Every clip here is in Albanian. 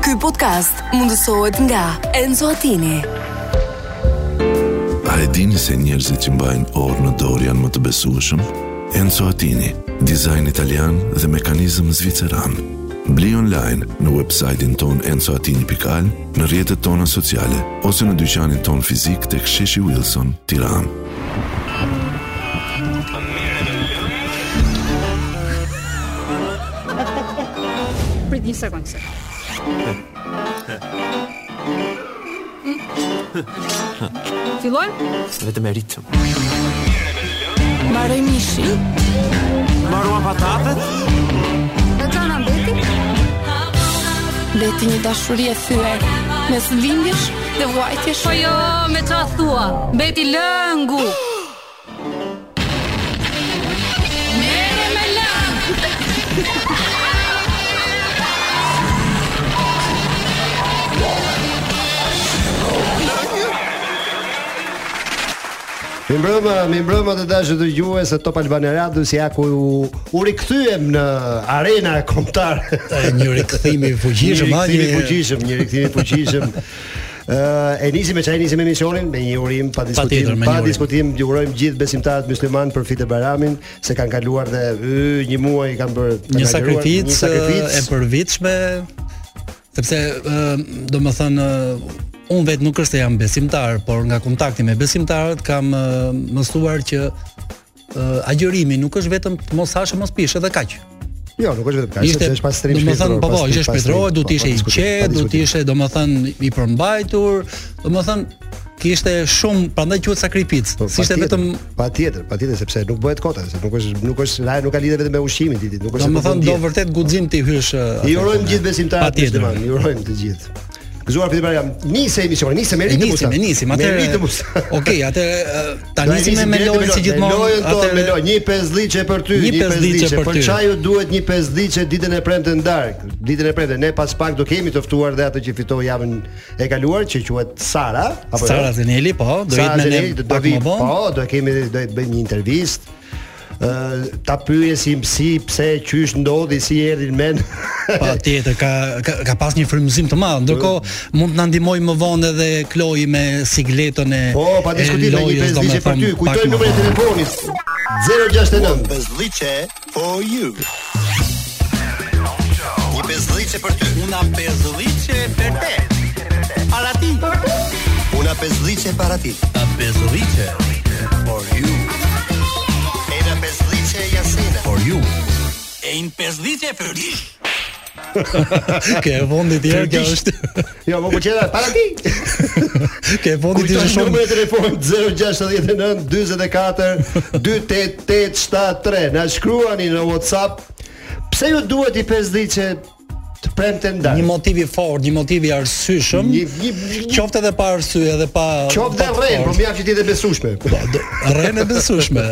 Ky podcast mundësohet nga Enzo Attini. A e dini se njerëzit që mbajnë orë në dorë janë më të besueshëm? Enzo Attini, dizajn italian dhe mekanizëm zviceran. Bli online në website-in ton enzoatini.al, në rjetët tona sociale, ose në dyqanin ton fizik të ksheshi Wilson, tiran. Prit një sekundë se. Fillojmë? vetëm e ritëm. Mbaroj mishi. Marruan patatet? Dhe kanë ambeti? Leti një dashuri e thyer mes lindjesh dhe vuajtjesh. Po jo, me qa thua, beti lëngu. Mere me lëngu. Mi mbrëma, mi mbrëma të dashë të gjuhe se Top Albania Radio si ja ku u, u rikthyem në arena kombëtare. një rikthim i fuqishëm, një ha, rikthim i një- fuqishëm, një rikthim i fuqishëm. Ë, e nisi me çaj nisi me misionin me një urim pa diskutim, Patjetër, me pa një urim. diskutim, ju urojmë gjithë besimtarët musliman për fitë e Bajramin se kanë kaluar dhe y, një muaj kanë bërë kanë një kaluar, sakrificë një sakrificë. e përvitshme, sepse ë, do më thënë ë, unë vetë nuk është se jam besimtar, por nga kontakti me besimtarët kam ë, mësuar që ë, agjërimi nuk është vetëm të mos hashë mos pishë edhe kaq. Jo, nuk është vetëm kaq, sepse është pastrim do më thënë, shpirtëror. po po, pastrim- ishte pastrim, shpirtëror, po, duhet pa ishe i diskutim, pa qetë, duhet diskutim. ishe domethënë i përmbajtur, domethënë kishte shumë, prandaj quhet sakrificë. Po, Si ishte patjetër, vetëm patjetër, patjetër sepse nuk bëhet kota, se nuk është nuk është raja nuk ka lidhje vetëm me ushqimin ditët, nuk është. se nuk domethënë bën do dietë. vërtet guxim ti hysh. ë, I atë urojmë punë. gjithë besimtarët Patjetër. musliman, i urojmë të gjithë. Gëzuar për të jam nisë emisioni, nisë me E ritëm. nisim, usta. e nisim, Me atëherë. ritëm. usta. Okej, atëherë ë, ta Do e nisim me me direkt lojën si gjithmonë. Me lojën tonë, me atëherë- lojë, një pesdhiçe për ty, Një një pesdhiçe pesdhiçe për për ty. çaju duhet një pesdhiçe ditën e premte darkë. Ditën e premte ne pas pak do kemi të ftuar dhe atë që fitoi javën e kaluar që quhet Sara, apo jo? Sara Zeneli, po, do jetë Sara me ne Zeneli, do pak vi, më vonë. Po, do e kemi do e bëjmë një intervistë. Ë ta pyesim si, pse, qysh ndodhi, si erdhin men. Patjetër ka ka, ka pas një frymëzim të madh. Jo. Ndërkohë mund të na ndihmojë më vonë edhe Kloi me sigletën e Po, pa e diskutim me një lojës, pesdhiçe për domethënë, ty. pak Kujtoj më numrin e vonë. telefonit. 069 Bezliçe for you. Një bezliçe për ty. Una bezliçe për te. Para ti. Una bezliçe para ti. A bezliçe for you. Una bezliçe Jasina. For you. E një bezliçe për ti. po- Ke e fundit tjerë, kjo Tërkisht. është. Jo, më pëlqen para ti. Ke e fundit Kujtoj ishte numrin shumë. e telefonit 069 44 28873. Na shkruani në WhatsApp. Pse ju duhet i pesdhiçe të premte Një ndarë? motiv i fortë, një motiv i arsyeshëm. po- Një- një- Qoftë edhe pa arsye edhe pa Qoftë dhe pa të rren, po fortë. mjaft që ti të besueshme. Do- Rren e besueshme.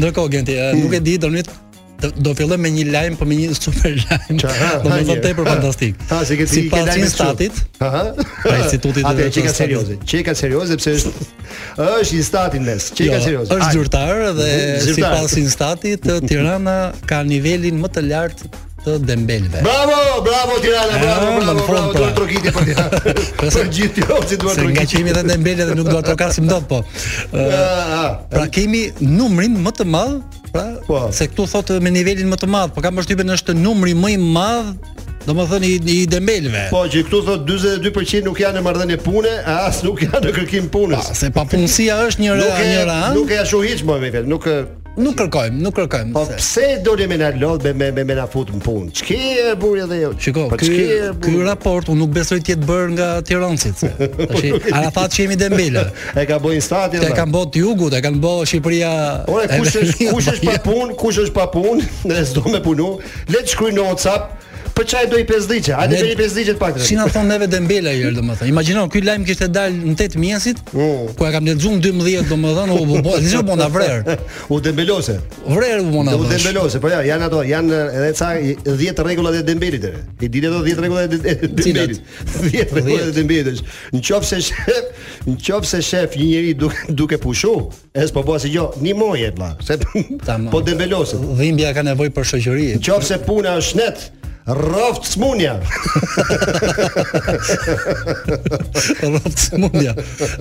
Ndërkohë Genti, e, nuk e di tani do- do fillojmë me një lajm, po me një super lajm. Qa, ha, Do ha, të thotë një. tepër fantastik. Ha, se ke ti ke Sipas lajme instatit, Aha. Pra institutit Atë që edhe ka të statit. serioze. Që ka serioze sepse është është instati mes. Që jo, ka serioze. është Ai. zyrtar dhe Mhm, zyrtar. sipas instatit Tirana ka nivelin më të lartë të dembelve. Bravo, bravo Tirana, Ah, bravo, në bravo, bravo. front, pra. Duhet trokiti për Tirana. Pse- Për gjithë Tiranë si duhet Se nga që trokiti. jemi edhe dembele dhe nuk do të trokasim dot, po. Ë, Ah, ah. Pra kemi numrin më të madh, pra Po. se këtu thotë me nivelin më të madh, po kam përshtypjen është numri më i madh, domethënë i, i dembelve. Po që këtu thot 42% nuk janë në marrëdhënie pune, ah, as nuk janë në kërkim punës. Pa, Ah, se pra, papunësia është një Nuk e një ran. nuk e ashu hiç më me fjalë, nuk e- Nuk kërkojmë, nuk kërkojmë. po se- pse doli me na lodh me me me, me na fut në punë. Ç'ke e burri edhe jo? Shiko, Po, ky ç'ke e, ky burri? raport unë nuk besoj të jetë bërë nga Tiranësit. se. Tash Arafat që jemi Dembele. e ka bënë stati Te kanë bërë të jugut, te kanë bërë Shqipëria. Ore kush e është kush është pa punë, kush është pa punë, ne s'do me punu. Le të shkruaj në WhatsApp për çaj do i pesdhiçe. Hajde Ne- bëni pesdhiçe të paktën. Si na thon neve Dembela herë domethënë. Imagjino ky lajm kishte dalë në 8 mjesit, Mm. ku e kam lexuar në 12 domethënë, u bë, bë- dizë bona vrer. U dembelose. Vrer u bona. Do u thosh. dembelose, po ja, janë ato, janë edhe ca 10 rregullat e Dembelit. e. I ditë ato 10 rregullat e De- e Dembelit. 10 rregullat e Dembelit. është, Nëse shef, nëse shef një njeri duke duke pushu, es po bëhet si jo, një moje vlla, se Tamam. po dembeloset. Jo. Dhimbja ka nevojë për shoqëri. Nëse puna është net, Rroft smunja. Rroft smundja.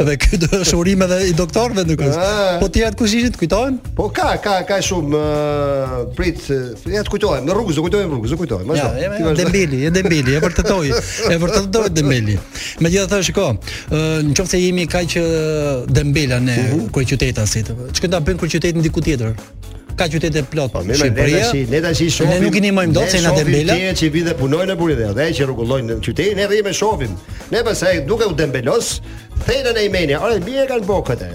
Dhe ky do është urim edhe i doktorëve ndërkohë. Ah. Po tjerat kush ishin kujtohen? Po ka, ka, ka shumë ë, prit, ë, ja të kujtojmë, në rrugë, do kujtojmë në rrugë, do kujtojmë. Ja, vazhdo. e Po Ti vazhdo. Dembeli, e Dembeli, e vërtetoi, e vërtetoi Dembeli. Megjithatë, shiko, ë, nëse jemi kaq ë, Dembela ne Mhm. kryeqytetasit, çka ta bëjmë kryeqytetin diku tjetër? Ka qytete plot Po mirë, ne Shqipëria. tash, ne tash i shohim. Ne nuk i nimojmë dot se na shohim Dembela. Tjerë që vinë dhe punojnë në Buridhe, dhe që rregullojnë në qytetin, ne rrimë shohim. Ne pastaj duke u dembelos, thënë në Imeni, "Ore, bie kanë bërë këtë."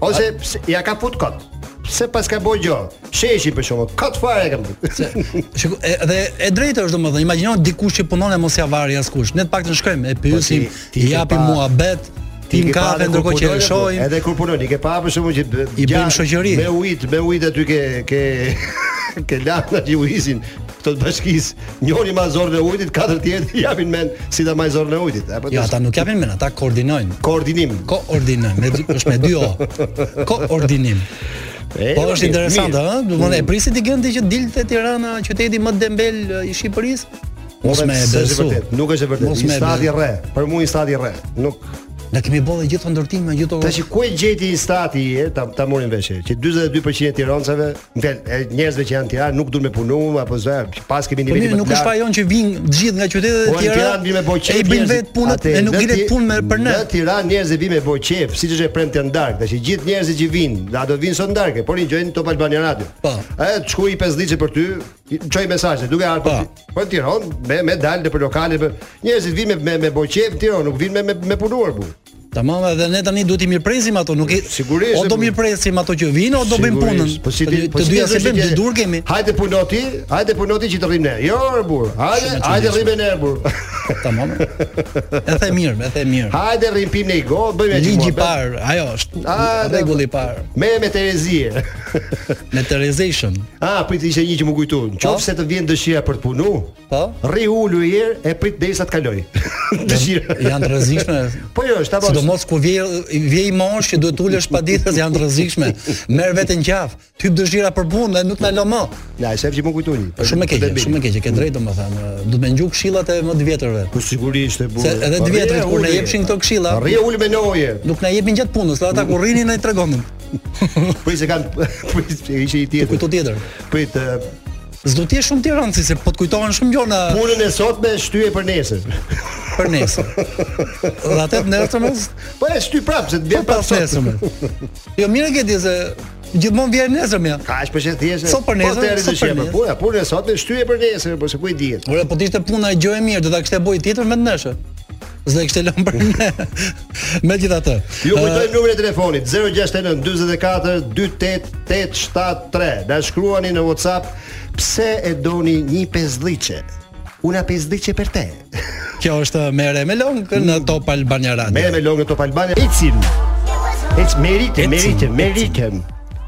Ose pse- ja ka fut kot. Pse pas ka bërë gjë? Sheshi për shkakun, kot fare e kam. Se, Shiko, e- dhe e drejtë është domethënë, imagjino dikush që punon e mos ja varri askush. Ne të paktën shkojmë, e pyesim, Po, ti- ti i ke japim pa- muhabet, Ti tim ke pa kafe edhe kur ndërkohë që e punojnë, shohim. Edhe kur punon, i ke pa për shkakun që b- I gjatë, bëjmë shoqëri. Me ujit, me ujit aty ke ke ke lana që u hisin këto të bashkisë. Njëri ma zorën e ujit, katër tjerë i japin mend si ta maj zorën e ujit. Apo Jo, të- ata nuk japin men, ata koordinojnë. koordinim. Koordinim, me dy- është me dy o. Koordinim. E, Po mirë, është interesante, mirë. ëh, do të thonë e prisi ti gëndi që dilte Tirana, qyteti më dembel i Shqipërisë. Mos Ore, me e s'është e besu. vërtet, Nuk është e vërtetë. Mos I me e stati besu. Po. rre. Për mua i stati rre. Nuk Ne kemi bollë gjithë ndërtime, gjithë Tash ku e gjeti i stati e ta ta morin vesh që 42% e tirancave, më fal, e njerëzve që janë në Tiranë nuk duan me punu apo zë, pas kemi Po nivelin mirë, nuk është pa jon që vijnë të gjithë nga qytetet e Po në tjera. Tiranë vi me bo qef. E i bëjnë njerëzit. vetë punët, Atë, e nuk në dilet Ti- punë me- për ne. Në Tiranë njerëzit vi me bo qef, siç është e premte ndarkë, tash i gjithë njerëzit që vinë, da do vinë sot ndarkë, por i gjojnë Top Albania Radio. Po. E shkoi 5 ditë për ty, i- çoj mesazhe, duke ardhur. Po. për ti- Po në Tiranë me me dalë në për lokale, për... njerëzit vinë me me, me bo qef në Tiranë, nuk vinë me me, me punuar bu. Tamam, edhe ne tani duhet i mirpresim ato, nuk i Sigurisht, O do e- mirpresim ato që vinë, o do bëjmë Sigurisht. punën. Po si ti, të dyja se bëjmë, dy dur kemi. Hajde punoti, hajde punoti që të rrim ne. Jo, orë, burr. Hajde, Shumë e hajde çuditshme. rrim ne burr. Tamam. E the mirë, e the mirë. Hajde rrim pim ne i go, bëjmë atë. Ligji i muhabet. parë, ajo është. A, dhe- Rregulli i parë. Me me Terezie. Me Terezation. ah, prit ishte një që më kujtu. Nëse të vjen dëshira për të punu, Po? rri ulu një herë e prit derisa të kaloj. dëshira. Janë të rrezikshme. Po jo, është apo. Sidomos kur vje vje i mosh që duhet ulesh pa ditës janë të rrezikshme. Merr veten qaf, typ dëshira për punë dhe nuk na lë më. Na, shef që më kujtu një. Po, Shumë e keqe, Dembele. shumë e keqe, ke drejtë domethënë. Duhet më ngjuk këshillat e më të vjetërve. Po sigurisht e burr. Se edhe të Po, Rri e vjetrit kur na uli. Po, jepshin këto këshilla, Rri e uli me noje. nuk na jepin gjatë punës, dhe ata kur rrinin na i tregonin. Prit Po, se kanë prit se ishte i Të kujto tjetër. tjetër. Prit e, S'do të jesh shumë tiranë si se po të kujtohen shumë gjona punën e sotme shtyje për nesër. për nesër. Dhe atë të nesërmës, Po e shty prapë se të po vjen prapë pas sot. nesërmës. Jo mirë ke di se gjithmonë vjen nesërmja. Ka aq për shë thjesht. Sot për nesër, sot për nesër. Po, punën e sotme shtyje për nesër, po se ku i dihet. Ora, po të ishte puna e gjë e mirë, do ta kishte bojë tjetër me të ndeshë. S'do e kishte lënë për ne. Megjithatë. Ju kujtojmë numrin e telefonit 069 44 28 873. Na shkruani në WhatsApp pse e doni një pesdhiçe. Una pesdhiçe për te. Kjo është mere me longë në Top Albania Radio. Merë Mm. me longën Top Albania. Ecim. Ec merite, Ecim, merite, ecim. meriten.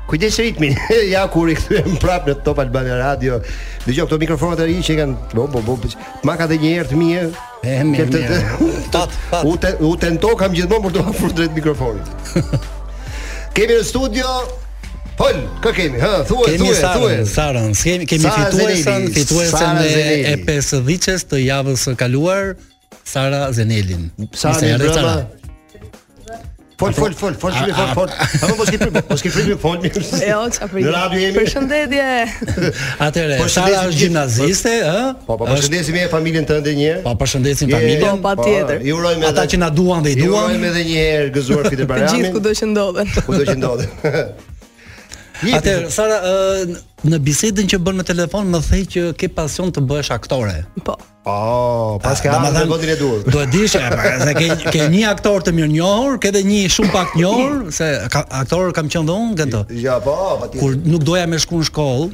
Kujdes ritmin. ja kur i kthyem prapë në Top Albania Radio. Dëgjoj këto mikrofonat e ri që kanë bo bo bo. Ma ka dhe një herë të mia. E mirë. mirë. Pat, pat. U te, u tento kam gjithmonë për të hapur drejt mikrofonit. kemi në studio Pol, kë kemi? Hë, thuaj, Kemi thuaj, thuaj. Sarën, Sarën, kemi, kemi Sara fituesën, Zeneli, fituesën Sara e, e Zeneli. 50-s të javës së kaluar, Sara Zenelin. Sa Ishte ne erë drama. Fol, fol, fol, fol, shumë fol, fol. Apo mos ke frikë, mos ke frikë, fol mirë. Jo, çfarë Në radio jemi. Përshëndetje. Atëre, Po, Sara shëndesim është gjithë- gjimnaziste, ë? Po, po, përshëndesim e familjen tënde një herë. Po përshëndesim Je- Jo, familjen. Po, patjetër. po, Ju urojmë Ata që na duan dhe i Ju duan. urojmë edhe një herë gëzuar Të fitë gjithë baramin. kudo që ndodhen. Kudo që ndodhe. Jepi. Atëherë, Sara, ë, n- në bisedën që bën në telefon më thej që ke pasion të bëhesh aktore. Po. Po, pas ka Do ardhur më thënë, në vendin e dur. Ah, Do e dish, e, pra, se ke ke një aktor të mirënjohur, ke edhe një shumë pak të njohur, se ka, aktor kam qenë dhe unë këto. Ja, po, patjetër. Kur nuk doja me shku në shkollë,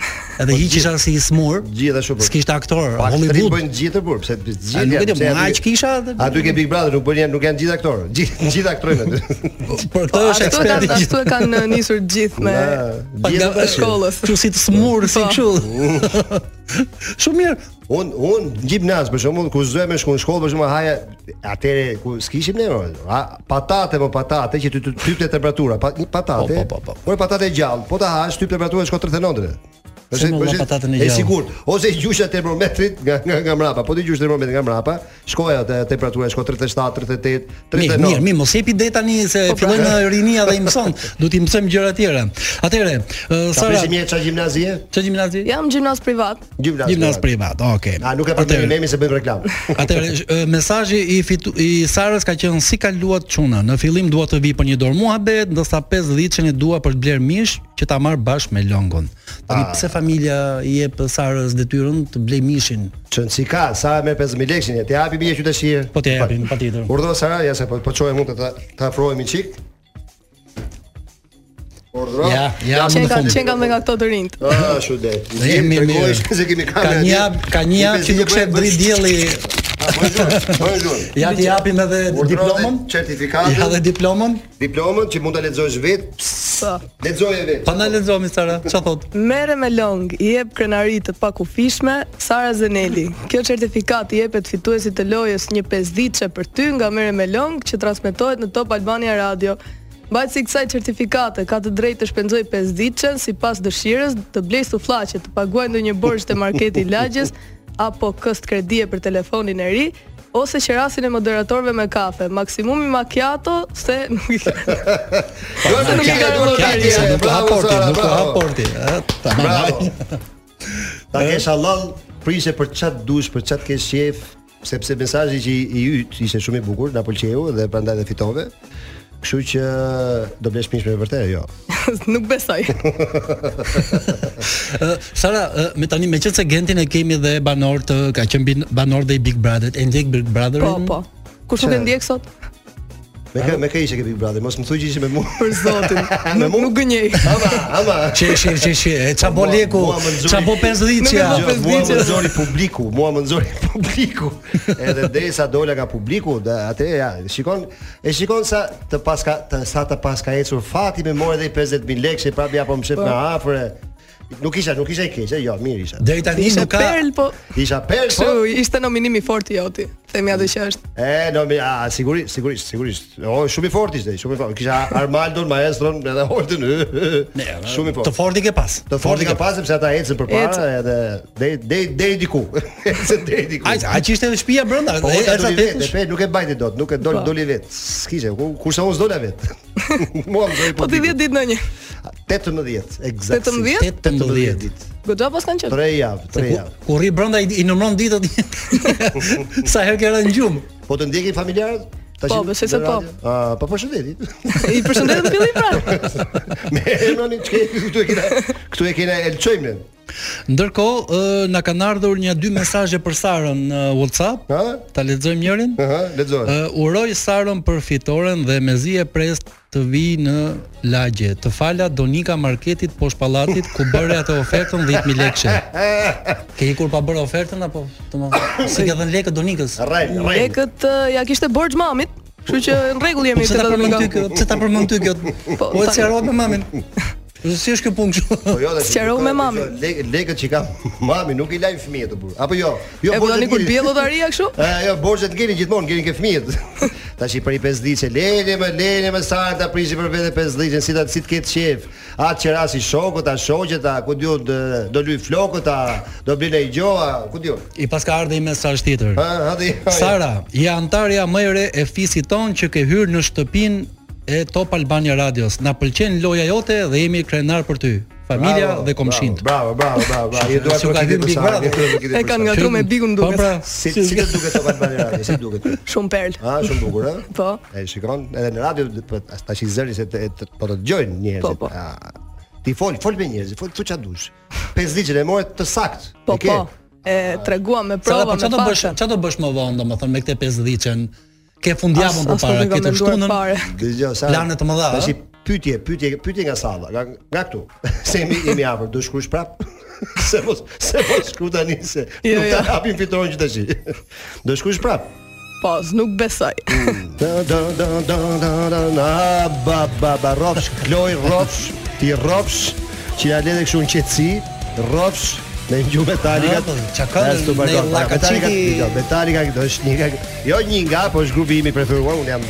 edhe hiqisha si i smur, Po, Gjithë ashtu po. s'kishte aktor, Po aktorit Hollywood. bëjnë gjithë të burr, pse të A, gjithë. nuk e janë, di, pse më aty- aq kisha dhe- Aty ke Big Brother, nuk bën janë, nuk janë gjithë aktorë. Gjithë gjithë aktorë aty. Për këtë Po, është ashtu e kanë eksperti. ashtu e kanë nisur gjithë me Na, gjithë nga- bashkë. shkollës. Kështu si të smur, si Po. kështu. Shumë mirë. Un un në gjimnaz për shembull kur zdoja me shku në shkollë për shembull haja atëre ku s'kishim ne ore. a, patate po patate që ty ty- typte temperatura, pa, një patate. Po, po, po, po. Por patate gjallë, po ta hash typ temperatura shkon 39 drejt. Se më valla patatën e e gjallë. sigurt. Ose i gjysha termometrit nga nga nga mrapa. Po ti gjysh termometrin nga mrapa, shkoj atë temperatura shko 37, 38, 39. Mirë, mirë, mirë, mos jepi det tani se Po, pra. fillojnë rinia dhe i mëson. Duhet i mësojmë gjëra tjera. Atëherë, ë, Sa Sara, prishim një çaj gjimnazie? çfarë gimnazi? Jam gjimnaz privat. Gjimnaz. Gjimnaz Po, privat. Okej. A Ah, nuk e Atëherë, përmendën nemi se bëjmë reklam. Atëherë sh- ë, mesazhi i fitu, i Sarës ka qenë si kaluat çuna. Në fillim dua të vi për një dorë muhabet, ndërsa 50 që ne dua për të bler mish që ta marr bashkë me Longon. Ah. Tani pse familja i jep Sarës detyrën të blej mishin? Çon si ka, sa me 5000 lekshin, ti hapi bie që të shije. Po t'ja japin, patjetër. Urdhro Sara, ja se po po çohem unë të ta ta afrohemi çik. Urdhro. Ja, ja, më Qen në ka fund. qen kam dhe nga këto të rinjt. Ah, shu det. Ne jemi mirë. se kemi Ka kamerë. një jap, ka një jap që nuk shef dritë dielli. Bonjour. Bonjour. Ja ti japim edhe diplomën, certifikatën, ja edhe diplomën. diplomën që mund ta lexosh vetë. Po. Lexoje vetë. Pa na lexomi Sara, ç'a thot? Merre me long, i jep krenari të pakufishme Sara Zeneli. Kjo certifikat i jepet fituesit të lojës një pesdhiçe për ty nga Merre me long që transmetohet në Top Albania Radio. Mbajtësi i kësaj certifikate ka të drejtë të shpenzoj 5 ditën sipas dëshirës, të blej sufllaqe, të paguaj ndonjë borxh te marketi i lagjes apo këst kredie për telefonin e ri ose qerasin e moderatorëve me kafe. Maksimumi macchiato se nuk i ka. Dorë nuk e ka dorë Ja, Kati, ja, nuk ka Bravo, raporti, Sara, nuk ka bravo. raporti. Eh, tamam. Bravo. Ta kesh halal, prishe për çat dush, për çat kesh shef, sepse mesazhi që i- i yt ishte shumë i bukur, na pëlqeu dhe prandaj dhe fitove. Kështu që do blesh mish me vërtet, jo. nuk besoj. Ë, Sara, ë, me tani me qëtë se Gentin e kemi dhe banor të ka qenë bin- banor dhe i Big Brother, e ndjek Big Brother. Po, po. Kush nuk e ndjek sot? Me kë me kë ishe ke Big Brother, mos më thuaj që ishe me mua. Për zotin. Me Nuk, mua? nuk gënjej. Ama, ama. Çe çe çe çe, e ça bo Mua- leku, mua më nxori. ça bo 50 Nuk e çja. po Gjë, Mua më pesdiçe. nxori publiku, mua më nxori publiku. Edhe derisa dola nga publiku, da- atë ja, shikon, e shikon sa të paska të, sa të paska ecur fati me morë edhe i 50000 lekë, prapë ja po më shep nga afër. e- Nuk isha, nuk isha i keq, e, jo, mirë isha. Deri tani Ishte nuk ka perl, po. Isha perë, po. Kështu ishte nominimi i fortë i joti. Themi atë që është. E, no, mi, a, sigurisht, sigurisht, sigurisht. O, shumë i fortë ishte, shumë i fortë. Kisha Armaldon, Maestron, edhe Holden. Ne, Shumë i Të fortë. forti ke pas. Të fortë ka pasë sepse ata ecën përpara Ecën. edhe deri deri deri diku. Ecën deri diku. Ai ai që ishte në shtëpia brenda, Po e- ata e sa doli tetësh? vetë, pe, nuk e bajti dot, nuk e doli Po. doli vet. S'kishte, ku- kurse unë s'dola vet. Mua më doli Po ti 10 ditë në një. 18, eksakt. 18? 18 ditë. Goxha pas kanë qenë. 3 javë, 3 Ku- javë. Ku rri brenda i, i numëron ditët. sa herë ke rënë gjumë. Po të ndjekin familjarët? Tash Po, në besoj se po. radio? Ah, po përshëndetje. I përshëndet në fillim pra. Me emrin çka këtu e kena këtu e kena Elçojmën. Ndërkohë, ë, na kanë ardhur një dy mesazhe për Sarën në WhatsApp. Ha? Ta lexojmë njërin. Aha, lexo. Ë, uroj Sarën për fitoren dhe mezi e pres të vi në lagje. Të fala Donika Marketit poshtë pallatit ku bëre atë ofertën 10000 lekëshe. Ke ikur pa bërë ofertën apo? Domethënë, si ka dhënë lekët Donikës? Rrej, rrej. Lekët eh, ja kishte borxh mamit. Kështu që në rregull jemi Po Pse ta përmend ty kjo? 82. Pse ta përmend ty kjo? Po, Po e ta- sqaroj me mamin. Si është kjo punë kështu? Po jo, tash. Sqarou me mamin. Lek- Lekët që ka mami nuk i lajm fëmijët apo. Apo jo. Jo, E borxhet vëllani kur ngelin. bie llotaria kështu? E, jo, borxhet ngelin gjithmonë, ngelin ke fëmijët. Tash i për i 5 ditë që leni më leni më sa ta prishi për vetë 5 ditën, si ta si të ketë qejf. Atë që rasi shokut, a shoqet, a ku diun dë- do lyj flokët, a do blej ai gjoa, ku diun. I paska ardhi mesazh tjetër. Ha, hadi. Sara, je antarja më e re e fisit ton që ke hyrë në shtëpinë e Top Albania Radios. Na pëlqen loja jote dhe jemi krenar për ty, familja Bravo, dhe komshinë. Bravo, bravo, bravo, bravo. Ju dua S'u ka hyrë Big Brother. E kanë ngatruar me bikun Po duket. pra, Si si të duket Top Albania Radio, si duket? Shumë perl. Ah, shumë bukur, ë? Po. E shikon edhe në radio po, tash i zëri se të, të, po të dëgjojnë njerëzit. Po, po. A, ti fol, fol me njerëzit, fol thu ç'a dush. Pesë ditë e morët të sakt. Po e ke. po. E treguam me Sara, prova po me çfarë do bësh? fakte. Çfarë do bësh më vonë, domethënë me këtë 50-çen? Ke As- fundjavën as nuk përpara, e ke kam të menduar shtunën. fare. Dëgjoj sa. Plane të mëdha, Tash ë? i pyetje, pyetje, pyetje nga salla, nga, nga këtu. Se jemi jemi afër, do shkruaj prap. se mos se mos shkru tani se Jo, nuk jo. ta hapim fitoren që tash. Do shkruaj prap. Po, nuk besoj. Da da da da da da na ba ba ba rofsh kloj rofsh ti rofsh që ja lënë kështu në qetësi rofsh me një gjumë metalika Ah, po, çka ka Ashtu në- pa në gjë, pa, metalika llakaçiti- jo, metalika do është një nga jo një nga po është grupi im i preferuar un jam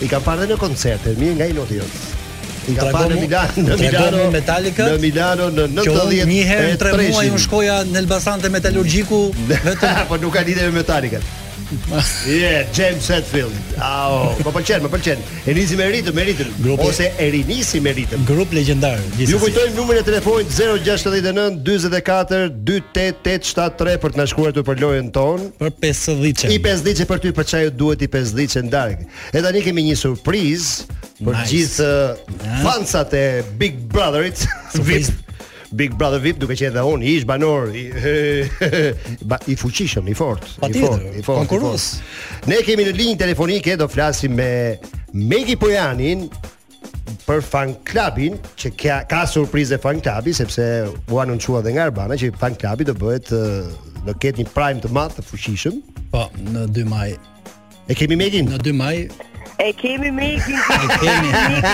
i kam parë dhe në koncerte mirë nga i loti jot Ka parë në Milan, në Milano, Milano Metallica. në Milano në Që 90 unë një herë e në tre muaj treshin. unë shkoja në Elbasan te metalurgjiku vetëm po nuk ka lidhje me Metallica. Yeah, James Hetfield. Au, më pëlqen, më pëlqen. E nisi me ritëm, me ritëm Grupi- ose e rinisi me ritëm. grup legjendar. Ju gjithsesi. kujtojmë numrin e telefonit 069 44 28873 për të na shkruar të për lojën tonë. për 50 I pesdhiçe për ty, për çaj duhet i pesdhiçe ndark. E tani kemi një surprizë për Nice. gjithë uh, fansat e Big Brotherit. Surprizë. VIP. Big Brother VIP duke qenë dhe unë i ish banor i, ba, i fuqishëm, i fortë, i Patjetër, fortë, i fortë. konkurrues. i fortë. Ne kemi në linjë telefonike do flasim me Megi Pojanin për fan klubin që ka, ka surprizë e fan klubi sepse u anoncua edhe nga Arbana që fan klubi do bëhet ë, do ketë një prime të madh të fuqishëm. Po, në 2 maj. E kemi Megin? Në 2 maj E kemi Mekin, e kemi.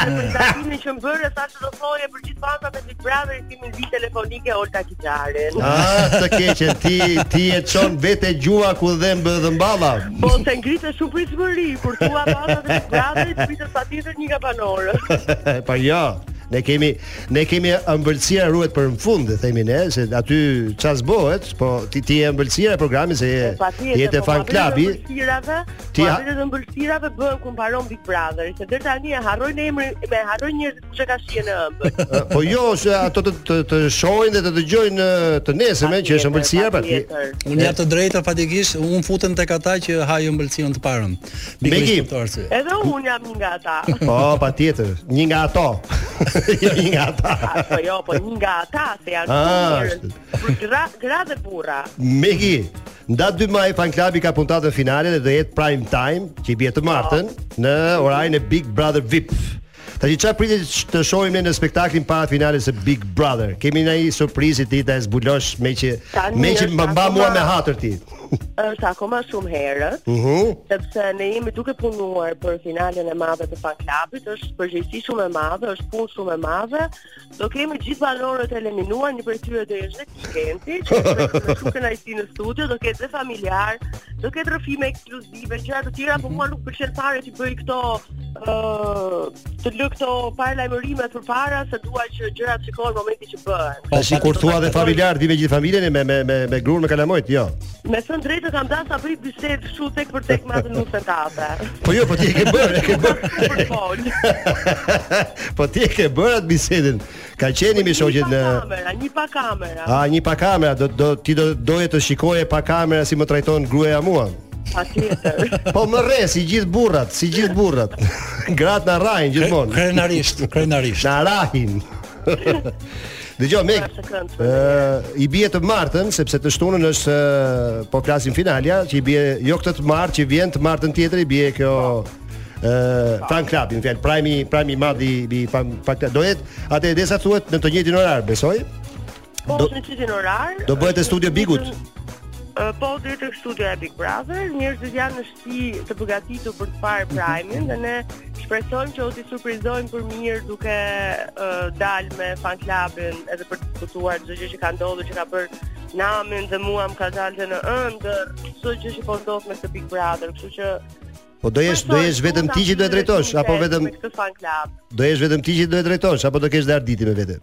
Timin që më bërë, thashë do thoje për gjithë fansat e Big Brother, kemi zi telefonike Olta Kizaren. Ah, të keqen ti ti e çon vetë gjua ku dhëmb dhe mballa. Po se ngritë shumë për smëri, kur thua fansat e Big Brother, të pitër pa tjetër një kapanorë. po jo. Ne kemi ne kemi ëmbëlsira ruhet për në fund, e themi ne, se aty çfarë bëhet, po ti ti je ëmbëlsira e programit se je Po, Pa tjetër, je te fan klubi. Ti ti ha- ha vetë të mbërthirave bën kumparon Big Brother, se deri tani e harrojnë emrin, me harrojnë njerëz kush e ka shihen në ëmbël. Ë, Po jo, se ato të të, të shohin dhe të dëgjojnë ë, të nesërmen që është pra, ëmbëlsira patjetër. Unë jap të drejtë fatikisht, unë futem tek ata që hajën mbëlsinë të parën. Beki. Pikërisht për këtë arsye. Edhe unë jam një nga ata. Po, patjetër. Një nga ato. Jo, një nga ata. Ah, Po jo, po një nga ata se janë Ah, shumë njerëz. është. Për gra, gra dhe burra. Megi, nda 2 maj fan klubi ka puntatën finale dhe do jetë prime time që i bie të martën në orarin e Big Brother VIP. Tash çfarë pritet të shohim ne në spektaklin para finales së Big Brother? Kemi na një surprizë ti ta e zbulosh me që Tani me që është më mba mua akoma- me hatër ti. Është akoma shumë herët. Mhm. sepse ne jemi duke punuar për finalen e madhe të fan klubit, është përgjegjësi shumë e madhe, është punë shumë e madhe. Do kemi gjithë banorët e eliminuar, një prej tyre do jesh dhe Kenti, që është me shumë kënaqësi në studio, do ketë dhe familjar, do ketë rrëfime ekskluzive, gjëra të tjera, por mua nuk pëlqen fare ti bëj këto ë të lë këto paralajmërimet përpara se dua që gjërat shikohen në momentin që bëhen. Tash kur thua dhe familjar ti me gjithë familjen e me me me me gruan me kalamojt, jo. Me thënë drejtë kam dashur ta bëj bisedë kështu tek për tek me atë nusën tape. Po jo, po ti e ke bërë, e ke bërë. Për fol. po ti e ke bërë atë bisedën. Ka qenë me shoqet Një pa në kamera, një pa kamera. A një pa kamera, do do ti do doje të shikoje pa kamera si më trajton gruaja mua. Patjetër. Po më rre si gjithë burrat, si gjithë burrat. Gratë na rrahin gjithmonë. Krenarisht, krenarisht. Na rrahin. Dëgjoj Mek. Pra, së këndshme. Ë i bie të martën sepse të shtunën është ë, po flasim finalja që i bie jo këtë të martë që vjen të martën tjetër i bie kjo ë Fan Club, në fjalë primi primi i madh i i Fan Fan Club. Do jetë atë desa thuhet në të njëjtin orar, besoj. Po Do- është në qitin orar. do bëhet e studio Bigut? Ë, Po do jetë studio e Big Brother, njerëzit janë në shtëpi të përgatitur për të Mhm. parë Prime-in dhe ne shpresojmë që u t'i surprizojmë për mirë duke uh, dalë me fan clubin edhe për të diskutuar çdo gjë që ka ndodhur, që ka bërë namin dhe mua më ka dalë dhe në ëndër, çdo gjë që po ndodh me këtë Big Brother, kështu që Po do jesh do jesh vetëm ti që do e drejtosh apo vetëm me këtë fan club. do jesh vetëm ti që do e drejtosh apo do kesh dhe arditi me vete?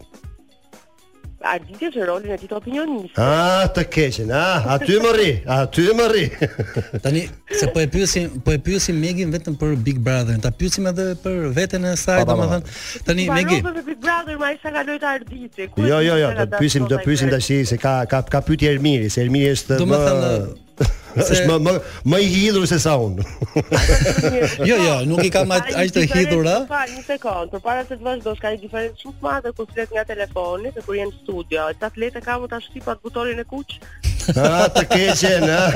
Arditje që rolin e tij të opinionist. Ah, të keqen. Ah, aty më rri, aty më rri. Tani se po e pyesim, po e pyesim Megin vetëm për Big Brotherin, ta pyesim edhe për veten e saj, Pa, pa, pa, domethënë. Tani Megi, Megi. Big Brother, ma isha kaloj të arditi. Ku jo, e jo, di jo, do se ka pyesim, do dashur pyesim ai tash se ka ka ka pyetje Ermiri, se Ermiri është Do më me thënë, është se- më më më i hidhur se sa unë. njerëz. jo, jo, nuk i kam aq Ka aq një të diferencë, hidhur, a? Pa, një sekond, përpara se të vazhdosh, ka një diferencë shumë të madhe kur flet nga telefoni dhe kur je në studio. Ta flet e kam u ta shtipat butonin e kuq, Ah, të keqen, ah.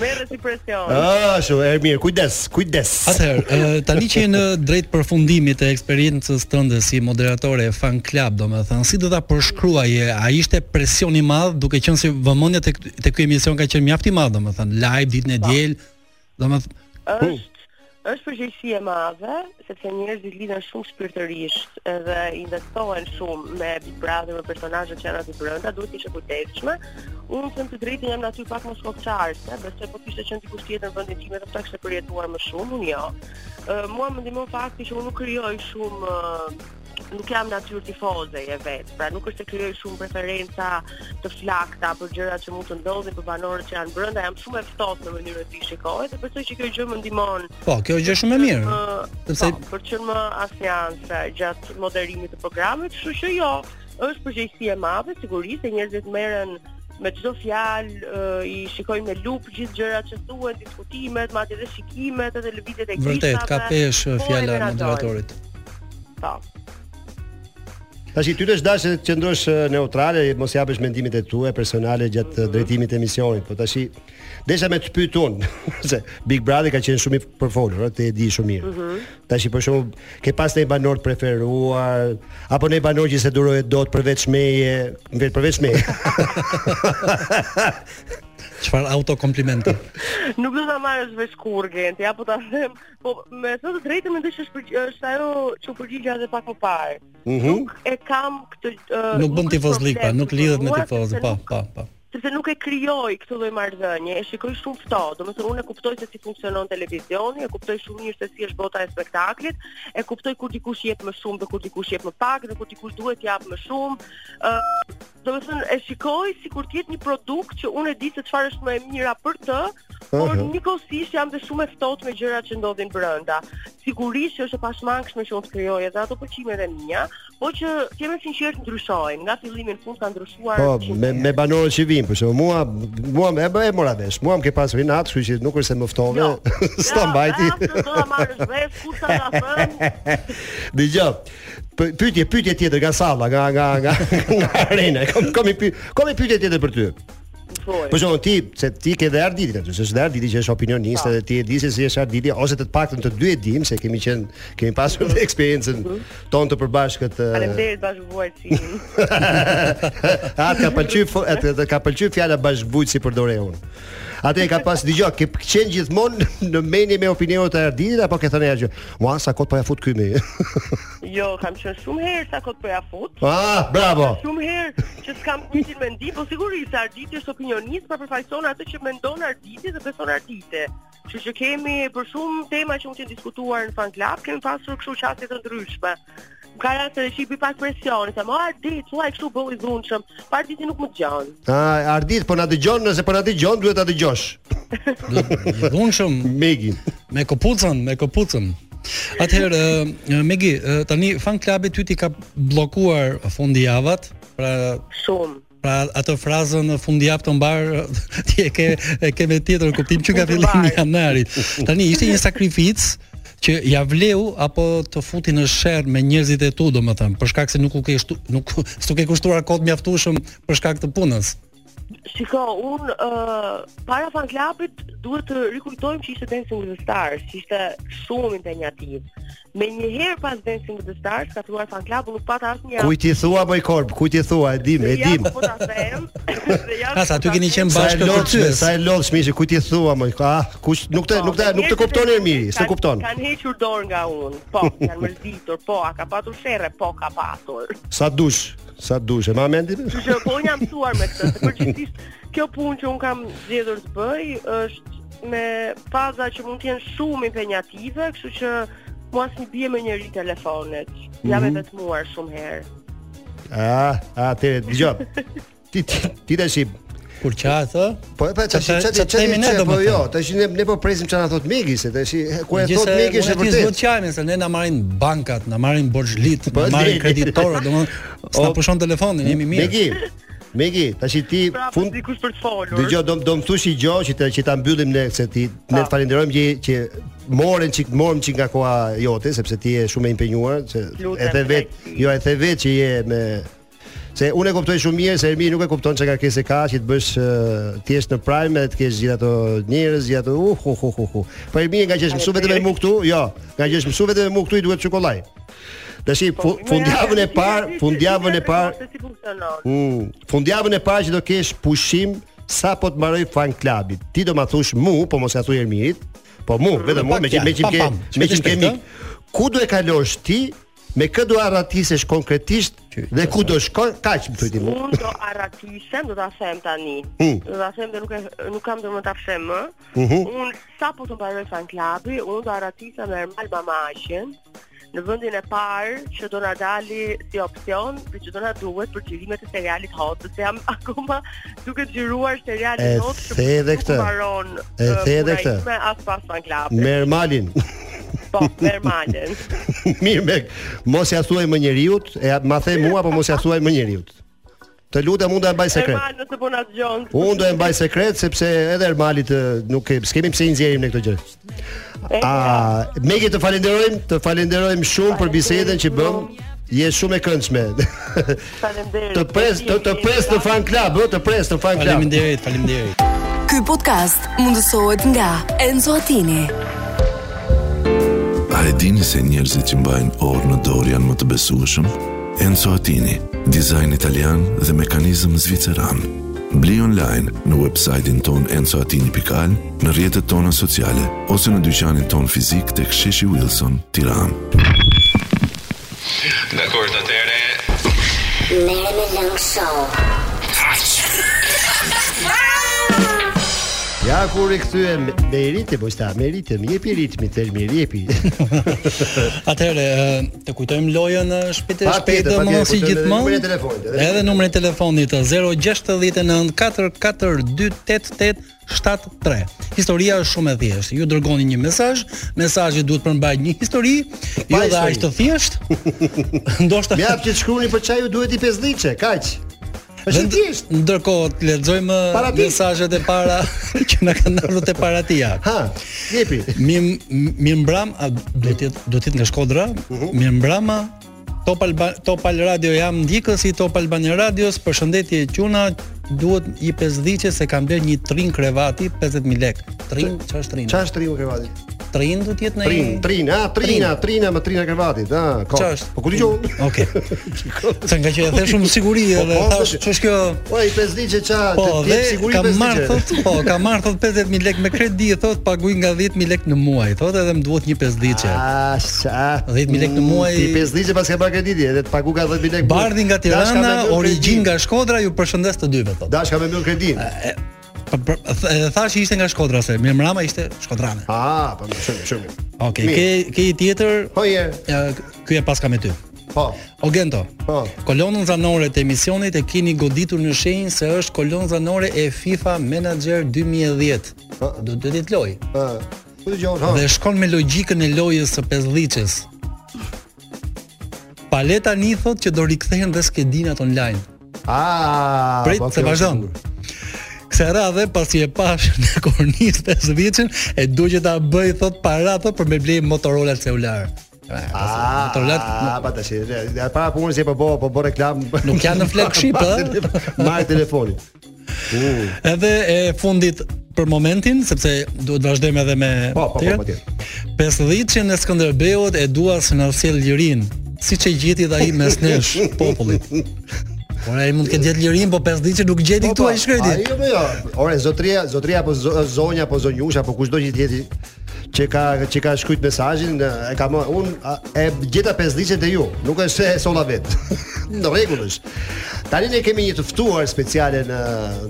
merret si presion. Ah, shu, Ermir, kujdes, kujdes. Atëherë, ë, tani që je në drejt përfundimit të eksperiencës tënde si moderatore e fan club, domethënë, si do ta përshkruaje? A ishte presion i madh, duke qenë se vëmendja tek Po. tek ky emision ka qenë mjaft i madh, domethënë, live ditën e diel, domethënë, është është përgjegjësi e madhe, sepse njerëzit lidhen shumë shpirtërisht edhe investohen shumë me Big Brother, me personazhet që janë aty brenda, duhet të ishte kujdesshme. Unë them të drejtën jam aty pak më shkopçarse, besoj po kishte qenë dikush tjetër në vendin tim, do të kishte përjetuar më shumë, unë jo. Uh, mua më ndihmon fakti që unë nuk krijoj shumë uh, nuk jam natyrë tifoze e vet. Pra nuk është se krijoj shumë preferenca të flakta për gjërat që mund të ndodhin për banorët që janë brenda. Jam shumë e ftohtë në mënyrën si shikoj dhe besoj që kjo gjë më ndihmon. Po, kjo gjë shumë e mirë. Sepse për të qenë më asjansë gjatë moderimit të programit, kështu që jo, është përgjegjësi e madhe, sigurisht se njerëzit merren me çdo fjalë i shikoj me lup gjithë gjërat që thuhen, diskutimet, madje edhe shikimet edhe lëvizjet e Vërtet, ka pesh po, e fjala e menaxhojnë. moderatorit. Po. Tash i ty të dashë të qëndrosh eh, neutrale, mos japësh mendimet e tua personale gjatë eh, drejtimit të emisionit, po tash i- desha me të pyet unë, se Big Brother ka qenë shumë i përfolur, ëh, ti e di shumë mirë. Mhm. Tash i për shembull, ke pas ndonjë banor të preferuar apo ndonjë banor që se duroje dot përveç meje, vetë përveç meje. Çfarë autokomplimenti. Nuk do ta marrësh vesh kurrë Genti, apo ta them, po me të të drejtën mendoj se është përgj- është ajo që u përgjigja edhe pak më parë. Mhm. E kam këtë ë, Nuk bën është tifozlik pra, problem nuk lidhet me mua, tifozë, sepse po, nuk- po, po. Sepse nuk e krijoj këtë lloj marrëdhënie, e shikoj shumë ftohtë. Domethënë unë e kuptoj se si funksionon televizioni, e kuptoj shumë mirë se si është bota e spektaklit, e kuptoj kur dikush jep më shumë dhe kur dikush jep më pak dhe kur dikush duhet jap më shumë. Ë domethënë e shikoj sikur të jetë një produkt që unë e di se çfarë është më e mira për të, por Aha. njëkohësisht jam dhe shumë e ftohtë me gjërat që ndodhin brenda. Sigurisht që është e pashmangshme që unë të krijoj edhe ato përqimet e mia, po që jemi sinqert ndryshojnë, nga fillimi në fund ka ndryshuar. Po, shumë me me banorët që vinë, për shembull, mua mua e bë- e mora vesh. Mua më ke pasur inat, kështu që nuk është se më ftove. Jo. S'ta mbajti. Do ta marrësh vesh kur ta ta thënë. Dëgjoj. py- Pyetje, pyetje tjetër nga salla, nga nga nga nga arena. Kom kom i pyet, kom i pyetje tjetër për ty. Për shembull, ti se ti ke dhe Arditin aty, se është dhe Arditi që është opinionist edhe ti e di se si është Arditi ose të të paktën të dy e dim se kemi qenë kemi pasur dhe eksperiencën tonë të përbashkët. e, Faleminderit bashkëvuajtësin. Atë ka pëlqy fo- atë atë ka pëlqy fjala bashkëvujt si përdore unë. Atë e ka pas dëgjoj, ke qenë gjithmonë në mendje me opinionet e Arditit apo ke thënë ajo? Mua sa kot po ja fut ky me. Jo, kam qenë shumë herë sa kot po ja fut. Ah, bravo. Shumë herë që s'kam njëtin mendim, po sigurisht se Arditi është opinionist, pra përfaqëson atë që mendon Arditi dhe beson Arditi. Kështu që kemi për shumë tema që mund të diskutuar në fan club, kemi pasur kështu çaste të ndryshme. Më Ka raste që i bëj pak presioni, se më Ardit, thua e kështu bëu i dhunshëm, pa Arditi nuk më dëgjon. Ah, Ardit po na dëgjon, nëse po na dëgjon duhet ta dëgjosh. I dhunshëm Megin. Me kopucën, me kopucën. Atëherë, ë, Megi, ë, tani fan klubi ty ti ka bllokuar fundjavat, pra shumë. Pra atë frazën fundjavë të mbar ti e ke e ke me tjetër kuptim që nga fillimi i janarit. Tani ishte një sakrificë që ja vleu apo të futi në sherr me njerëzit e tu, domethënë, për shkak se nuk u ke shtu, nuk s'u ke kushtuar kohë të mjaftueshëm për shkak të punës. Shiko, unë uh, para fan klapit duhet të rikujtojmë që ishte Dancing with the Stars, që ishte shumë intenjativ. Me një herë pas Dancing with the Stars, ka filluar fan klapi, nuk pata asë një Kujt i thua boj korb, kujt i thua, e dim, e dim. Po ta them. dhe po ja Ha, sa aty keni qenë Sa e bashkë lodhshme, kërcyes. sa e lodhshme ishte, kujt i thua më? Ah, kush nuk të nuk të nuk të kupton Ermiri, s'e Kan- kupton. Kan hequr dorë nga unë. Po, janë mërzitur, po, a ka patur sherre, po ka patur. Sa dush, sa dush, e ma mendin? Kështu që po unë jam mësuar me këtë, se përgjithsisht kjo punë që un kam zgjedhur të bëj është me faza që mund të jenë shumë impenjative, kështu që mua s'mi bie me njëri telefonet. Jam e Mhm. vetmuar shumë herë. Ah, atëre, dëgjoj. Ti ti ti tash i- Kur qa thë? Po e pa tash Ç'të- çat ç'të çat themi ne, çat po domethënë. jo, tash ne ne po presim çfarë na thot Megi se tash ku e thot Megi është e Gjithë vërtetë. çajmin se ne na marrin bankat, na marrin borxhlit, na Po, marrin di. kreditorët, domethënë, s'na O, pushon telefonin, jemi mirë. Megi. Megi, tash ti Pra, fund dikush për të folur. Dëgjoj, do do më thush i gjë që ta që ta mbyllim ne se ti ne të falenderojmë që që morën çik morëm çik nga koha jote sepse ti je shumë e impenjuar se Lutem, e the vet, Alexi. jo e the vet që je me Se unë e kuptoj shumë mirë se Ermi nuk e kupton çka kërkesë ka, që të bësh ë, ti jesh në prime dhe të kesh gjithë ato njerëz, gjithë ato uh hu hu hu hu. Po Ermi nga që është mësu vetëm me mua këtu, jo, nga që është mësu vetëm me mua këtu i duhet çokoladë. Tash i Po, fu- fundjavën e parë, fundjavën e parë Se si funksionon. Mm, fundjavën e parë që do kesh pushim sa po të mbaroj fan klubit. Ti do ma thush mu, po mos ja thuj Ermirit, po mu, vetëm Pak mu me qim me fjalë, qim pam, ke pam, me shpejt, qim ke shpejt, mik. Ku do e kalosh ti? Me kë do arratisesh konkretisht dhe ku do shkon? Kaq më thuaj ti mu. Unë do arratisem, do ta them tani. Mm. Do ta them dhe nuk e nuk kam domosdoshmë ta fshem më. Mhm. Unë sapo të mbaroj fan klubi, unë do arratisem me Ermal Mamaqin në vendin e parë që do na dali si opsion, për që do na duhet për xhirimet e serialit Hot, sepse jam akoma duke xhiruar E serialin Hot. që the edhe nuk këtë. mbaron, E ë, the edhe puna këtë. ime As pas fan klubit. Me Ermalin. Po, me Ermalin. Mirë me mos ja thuaj më njeriu, e ma the mua apo mos ja thuaj më njeriu. Të lutem unë do e mbaj sekret. Ermal nëse po na dëgjon. Unë do e mbaj sekret sepse edhe Ermalit ë, nuk e skemi pse i nxjerrim në këtë gjë. A Megi të falenderojmë, të falenderojmë shumë për bisedën që bëm. Je shumë e këndshme. Faleminderit. Të pres, të, të pres në fan club, ë, të pres në fan club. Faleminderit, faleminderit. Ky podcast mundësohet nga Enzo Attini. A e dini se njerëzit që mbajnë orë në dorë janë më të besueshëm? Enzo Attini, dizajn italian dhe mekanizëm zviceran. Bli online në website-in ton enzoatini.al, në rrjetet tona sociale, ose në dyqanin ton fizik të ksheshi Wilson, tiran. Dakor, atëre. Merë me lëngë show. Ja kur i kthyem me ritëm, po sta, me ritëm, jepi ritmin, thelmi jepi. Atëherë, ë, të kujtojmë lojën ë, shpejt e shpejt, Patjetër, më patjetër, kujtojmë edhe si numrin e gjithmonë. telefonit, edhe Edhe numrin e telefonit ë, 069 4428873. Historia është shumë e thjeshtë. Ju dërgoni një mesazh, mesazhi duhet përmbajt një histori, jo dhe histori. aq të thjeshtë. Ndoshta Mjap që të shkruani për çaju duhet i 5 ditë, kaq. Është e thjeshtë. Ndërkohë të lexojmë Parati. mesazhet e para që na kanë ardhur te paratia. Ha, jepi. Mim Mirmbram, a duhet të jetë duhet të jetë nga Shkodra? Mhm. Mirmbrama Top Alba, Top Al Radio jam ndjekës i Top Albania Radios. Përshëndetje Quna, duhet i pesdhiçe se kam bler një trin krevati 50000 lekë. Trin, çfarë është trin? Çfarë është triu krevati? Trin duhet të jetë në Trin, trin, a, trina, trina, më trina krevatit, a, ko. Çfarë është? Po ku dëgjoj? Okej. Se nga që e the shumë siguri edhe po, thash, po. ç'është kjo Po i pesdiçe ça, Po, të dhe jep siguri kam marr pesdiçe. thot, po, kam marr thot 50000 lekë me kredi, thot paguaj nga 10000 lekë në muaj, thot edhe më duhet një pesdiçe. Ah, sa. 10.000 lekë në muaj. Ti pesdiçe pas ke bërë krediti, edhe të pagu ka 10000 lekë. Bardhi nga Dash ka me Tirana, mbyll origjinë nga Shkodra, ju përshëndes të dyve kredit. thot. Dash ka me mbyll kredin. Po, po, th- Edhe thash që ishte nga Shkodra se Mirmrama ishte shkodrane. Ah, po shumë shumë. Okej, Mirë. ke ke një tjetër? Po je. Ja, Ky e paska me ty. Po. Ogento. Po. Kolonën zanore të emisionit e keni goditur në shenjë se është kolonë zanore e FIFA Manager 2010. Do do të jetë lojë. Ah. Ku dëgjon? Ha. dhe shkon me logjikën e lojës së pesdhiçës. Paleta një thot që do rikthehen dhe skedinat online. Ah, Prit po, se kjo vazhdon. është sigur. Kësa radhe, pasi e pash në kornisë pesdhiçën, e du që ta bëj thot para thot për me blej Motorola celular. Ah, Motorola ah, pa tash. Ja para punës je po bë, po bë reklam. nuk janë në flagship, ë. Marr telefonin. Uh, Edhe e fundit për momentin, sepse duhet vazhdojmë edhe me po, po, po, tjerët. patjetër. 50-shin e Skënderbeut e dua se na sjell lirin, siç e gjeti dhe ai mes nesh popullit. Por ai mund të ketë gjetë lirin, po 50-shin nuk gjeti Po, këtu ai shkreti. ai jo, po, jo. Ore zotria, zotria apo zo- zonja apo zonjusha apo kushdo që jeti që ka që ka shkruajt mesazhin, e kam un e gjeta 5 ditë te ju, nuk është se e solla vet. në rregull është. Tani ne kemi një të ftuar speciale në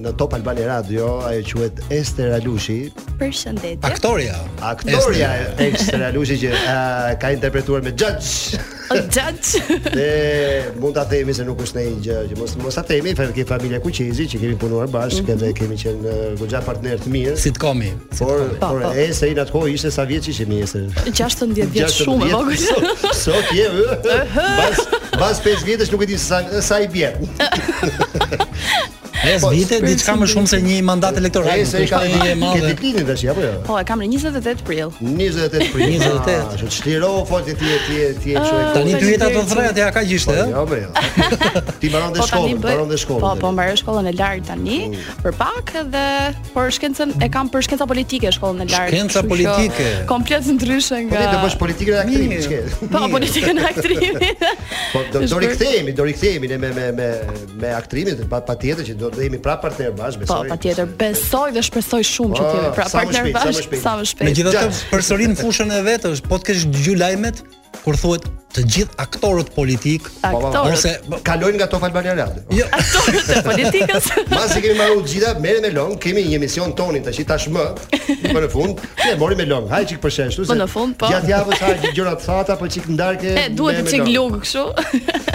në Top Albani Radio, ajo quhet Ester Alushi, Përshëndetje. Aktoria. aktoria Ester Alushi që e, ka interpretuar me Judge. O judge. Dhe mund ta themi se nuk është ndonjë gjë, që mos mos ta themi, fa ke familja Kuqezi që kemi punuar Mhm. bashkë dhe kemi qenë ë, goxha partner të mirë. Sitcomi. Por por Po, po. Ester në atë kohë ishte sa vjeç ishim Ester? 16 vjet 16 shumë e vogël. Sot- Sot je ë. Bas bas 5 vjetësh nuk e di se sa sa i bie. Pesë Po, vite diçka më shumë se një mandat elektoral. Ester i ka Është një ke e madhe. diklinin tash apo jo? Po, e kam në 28 prill. 28 prill. 28. Ah, që të Shliro folti ti ti ti e Ah, çoj. Tani dy jeta të thret ja ka gjishte, Po, ë? Jo, po jo. Ti mbaron dhe Po tani shkollën, bëj. mbaron dhe shkollën. Po, tani. po mbaroj shkollën e lartë tani, për pak edhe por shkencën e kam për shkenca politike shkollën e lartë. Shkenca kështu që politike. Komplet ndryshe Po nga ti do bësh politikën e aktrimit, ç'ke? Po, politikën e aktrimit. Po do, do Është bërë- rikthehemi, do rikthehemi ne me me me me aktrimin pa patjetër që do do jemi prapë partner bash, Po, besoj. patjetër, besoj dhe shpresoj shumë që Po, të jemi pra sa më partner shpejt, sa më bash shpejt. sa më shpejt. Megjithatë, përsërin fushën e vet është, po të kesh dëgju lajmet kur thuhet të gjithë aktorët politik Po, Aktorët. ose kalojnë nga Top Albania Radio. Jo, aktorët e politikës. Masi kemi marrë të gjitha, merrem me long, kemi një emision tonin tash tashmë, më në fund, ne morim me long. Haj çik për sheshtu Më në fund, po. Gjatë javës haj gjëra të thata, po çik ndarke. E duhet të merrem me çik long. lugë kështu.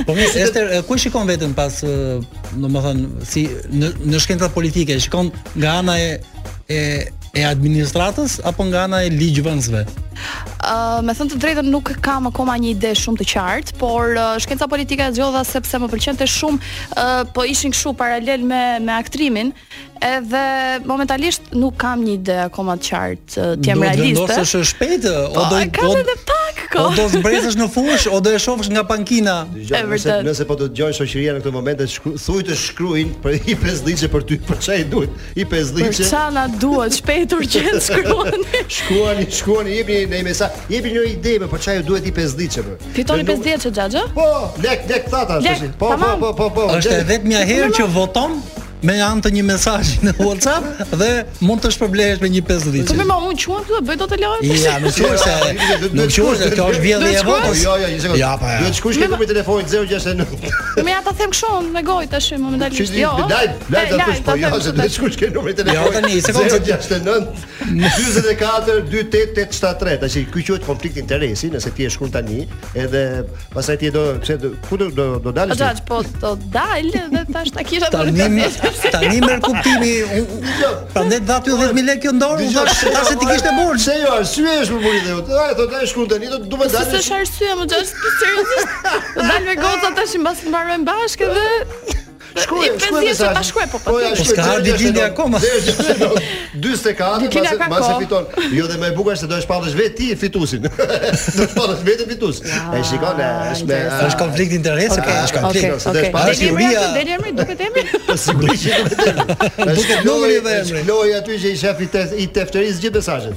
Po mirë, Ester, e, ku e shikon veten pas, ë, domethënë, si në në shkencat politike, e shikon nga ana e e e administratës apo nga ana e ligjvënësve? Ë, me thënë të drejtën nuk kam akoma një ide shumë të qartë, por uh, shkenca politike e zgjodha sepse më pëlqente shumë, ë, po ishin kështu paralel me me aktrimin, edhe momentalisht nuk kam një ide akoma të qartë, ë, të jem Do të realiste. vendosësh shpejt ë, o Po, do e kam o- edhe pak O kohë. do zbresësh në fush, o do e shohësh nga pankina. Dgjoj, nëse, nëse po të dëgjojnë shoqëria në këtë moment, e shkru, thuj të shkruajnë për i 5 ditë për ty, për çfarë i duhet? I 5 Për ditë. çfarë na duhet shpejt urgjent shkruani. Shkruani, shkruani, jepni në mesazh, jepni një ide më për çfarë ju duhet i 5 ditë për. Fitoni 50 çe xhaxha? Po, lek, lek thata Lek, tash. Po, po, tamam. po, po, po. Është e gjeni. vetmja herë që voton me anë të një mesazhi në WhatsApp dhe mund të shpërblehesh me një 50. Po më ma unë quhem këtu, bëj dot të lojë. Ja, nuk Jo, është se jo, duhet- nuk duhet është se shkuar, kjo është vjedhje e duhet shkuar. votës. Jo, jo, një sekondë. Ja, pa. Duhet shkuar ke numrin e telefonit 069. Më ja ta them kështu me gojë tash momentalisht. Qysh jo, live, live E, ta thush, po them jo, kështu se tash. duhet shkuar ke numrin e telefonit. Jo, tani, sekondë. 069 44 28873. Tash ky quhet konflikt interesi, nëse ti e shkruan tani, edhe pastaj ti e do, pse do- ku do do, do Po dalësh? ti? xhax, po të dal dhe tash ta kisha për Tani më tani më kuptimi, unë- prandaj dha ty 10000 lekë në dorë, unë Jo, Dëgjoj, thash ta se ti kishte borxh. Se jo, arsye është për burit e jot. Ai thotë ai shkruan tani, do të duhet Se dalësh. është arsye më xhax, po seriozisht. Do dal me goca tash mbas të mbarojmë bashkë dhe Shkruaj, i shkruaj 50 mesazhin. ta shkruaj, po, po, ja, po, s'ka shkruaj, ardhi 069, Lindja akoma. 069, 44, Lindja mase ka mase kohë. fiton. Jo dhe më e bukur është se do e shpallësh vetë ti fitusin. Do të shpallësh vetë fitus. E shikon, e, është me interesant. Është konflikt interesi, Okej, okay, është konflikt. okej, okej. Okay, Deli okay. Është emri juria. aty, deli emri, duket emri. sigurisht që duhet të them. Duket Është Lori numri dhe është emri. Lori aty që i shefi te, i tefterisë gjithë mesazhet.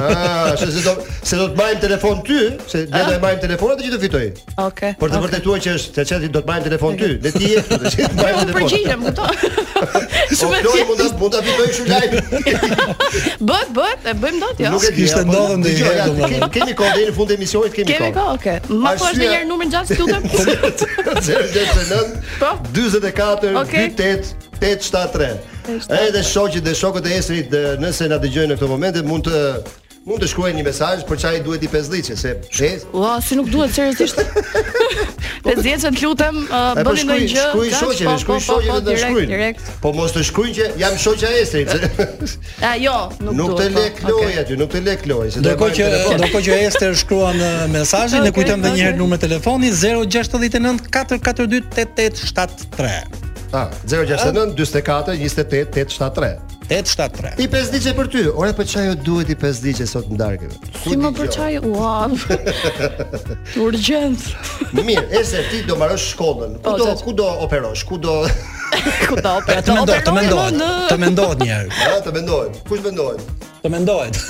Ah, se se do se do të marrim telefon ty, se ne do e marrim telefonin atë që të fitoj. Okej. Por të vërtetuar që është, se çati do të marrim telefon ty, ne ti je këtu, të çati marrim Unë telefon. përgjigjem këto. O Shumë e Lori Po, mund thjeshtë. ta mund ta fitoj kështu live. Bëhet, bëhet, e bëjmë dot jo. Nuk e di. Kishte apo- ndodhur ndonjë Dgjoj, herë, ja, domethënë. kemi- Kemi kohë deri në fund të emisionit, kemi kohë. Kemi kohë, okay. Ma po është Arsyeja- një herë numrin xhax, lutem. 069 Po. 44 Okej. 28 873. Edhe shoqit dhe shokët e Esrit, e, nëse na dëgjojnë në këtë moment, mund të mund të shkruajnë një mesazh për çfarë i duhet i pesdhiçe, se es, Ua, si nuk duhet seriozisht. 50 që të lutem, uh, E po bëni shkruaj, ndonjë gjë. shkruaj kaq, shoqeve, po, shkruaj po, po, shoqeve po, dhe direkt, shkruajnë. direkt. Po mos të shkruajnë që jam shoqja e Esrit. se A jo, nuk, Nuk duhet. të po, le kloj okay. aty, nuk të le kloj, se do e Ndërkohë marrim që telefon. ndërkohë që Ester shkruan ë, mesazhin, ne Okej, kujtojmë edhe një herë okej. numrin e telefonit 069 442 8873. Ah, 069 44 28 873. 873. I pesdiçe për ty. Ora po çajo duhet i pesdiçe sot në darkë. Si më përçaj, ua. Urgjent. jo. Mirë, ese ti do mbarosh shkollën. Ku Po, do zot. ku do operosh? Ku do Ku do Ja opera? të mendohet, të mendohet, Në... të mendohet një herë. Ha, të mendohet. Kush mendohet? Të mendohet.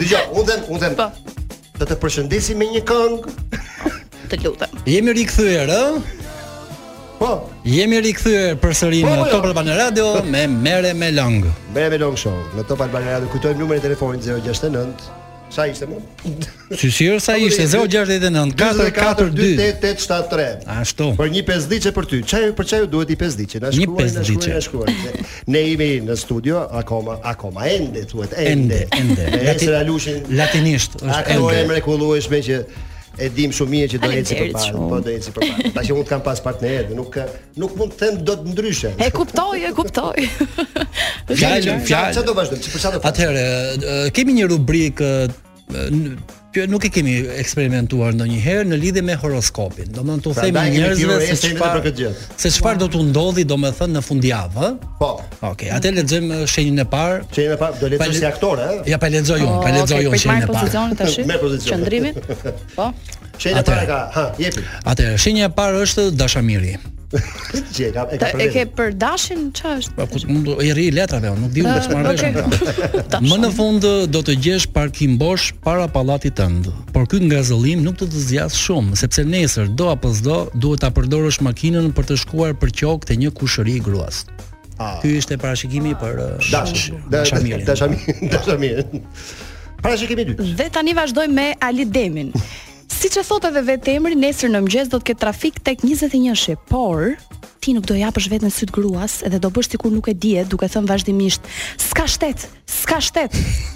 Dgjoj, unë them, unë them. Po, Do të përshëndesim me një këngë. të lutem. Jemi rikthyer, ë? Po, Jemi rikthyer përsëri Po, në po, jo. Top Albana Radio me Mere me Long. bëre me long show. Në Top Albana Radio kujtojmë numrin e telefonit 069 Sa ishte më? Si sirë sa ishte 069 442 442 Ashtu. Për Po, një pesdiçe për ty. Çaj për çaj duhet i pesdiçe. Na Një shkruaj, na shkruaj, pesdiçe. na shkruaj. Ne jemi në studio akoma, akoma ende thuhet ende. Ende, ende. Ne Lati- Esra Lushin Latinisht është Akoma e ende. mrekullueshme që e dim shumë mirë që do eci Faleminderit përpara, shumë. po do eci përpara. Tash unë kam pas partnerë, dhe nuk nuk mund të them dot ndryshe. E kuptoj, e kuptoj. Fjalë, Çfarë fjalë. do vazhdojmë? Për çfarë do flasim? Atëherë, e, kemi një rubrikë e, n- që nuk e kemi eksperimentuar ndonjëherë në lidhje me horoskopin. Domethënë tu Prandaj themi Pra, kemi njerëzve thirrur se estin vetëm për çfarë këtë gjë. se çfarë do t'u ndodhi domethënë në fundjavë, ë? Po. Okej, atë lexojmë e, shenjën e parë. Që jemi pa do lexoj Pale- si aktorë, ë? Ja pa lexoj unë, pa Oh, lexoj unë shenjën e parë. pozicionin tash. Merr pozicion. Qëndrimit. Po. Shenja e Atëherë. para ka, ha, jepi. Atëherë, shenja e parë është dashamiri. Gjë, ka e ka E për ke vete. për dashin, çfarë është? Po mund i rri letrave, unë nuk di unë Ah, veç marr vesh. okay. unë. Më në fund do të gjesh parkim bosh para pallatit tënd. Por ky ngazëllim nuk do të të zgjas shumë, sepse nesër do apo s'do duhet ta përdorësh makinën për të shkuar për qok te një kushëri gruas. Ah. Ky ishte parashikimi për uh, Dash, dashamirin. dashamir, dashamir. Para që kemi dy. Dhe tani vazhdojmë me Ali Demin. Siç e thot edhe vetë emri, nesër në mëngjes do të ketë trafik tek 21 shi, por ti nuk do japësh vetën syt gruas edhe do bësh sikur nuk e dije, duke thënë vazhdimisht, s'ka shtet, s'ka shtet.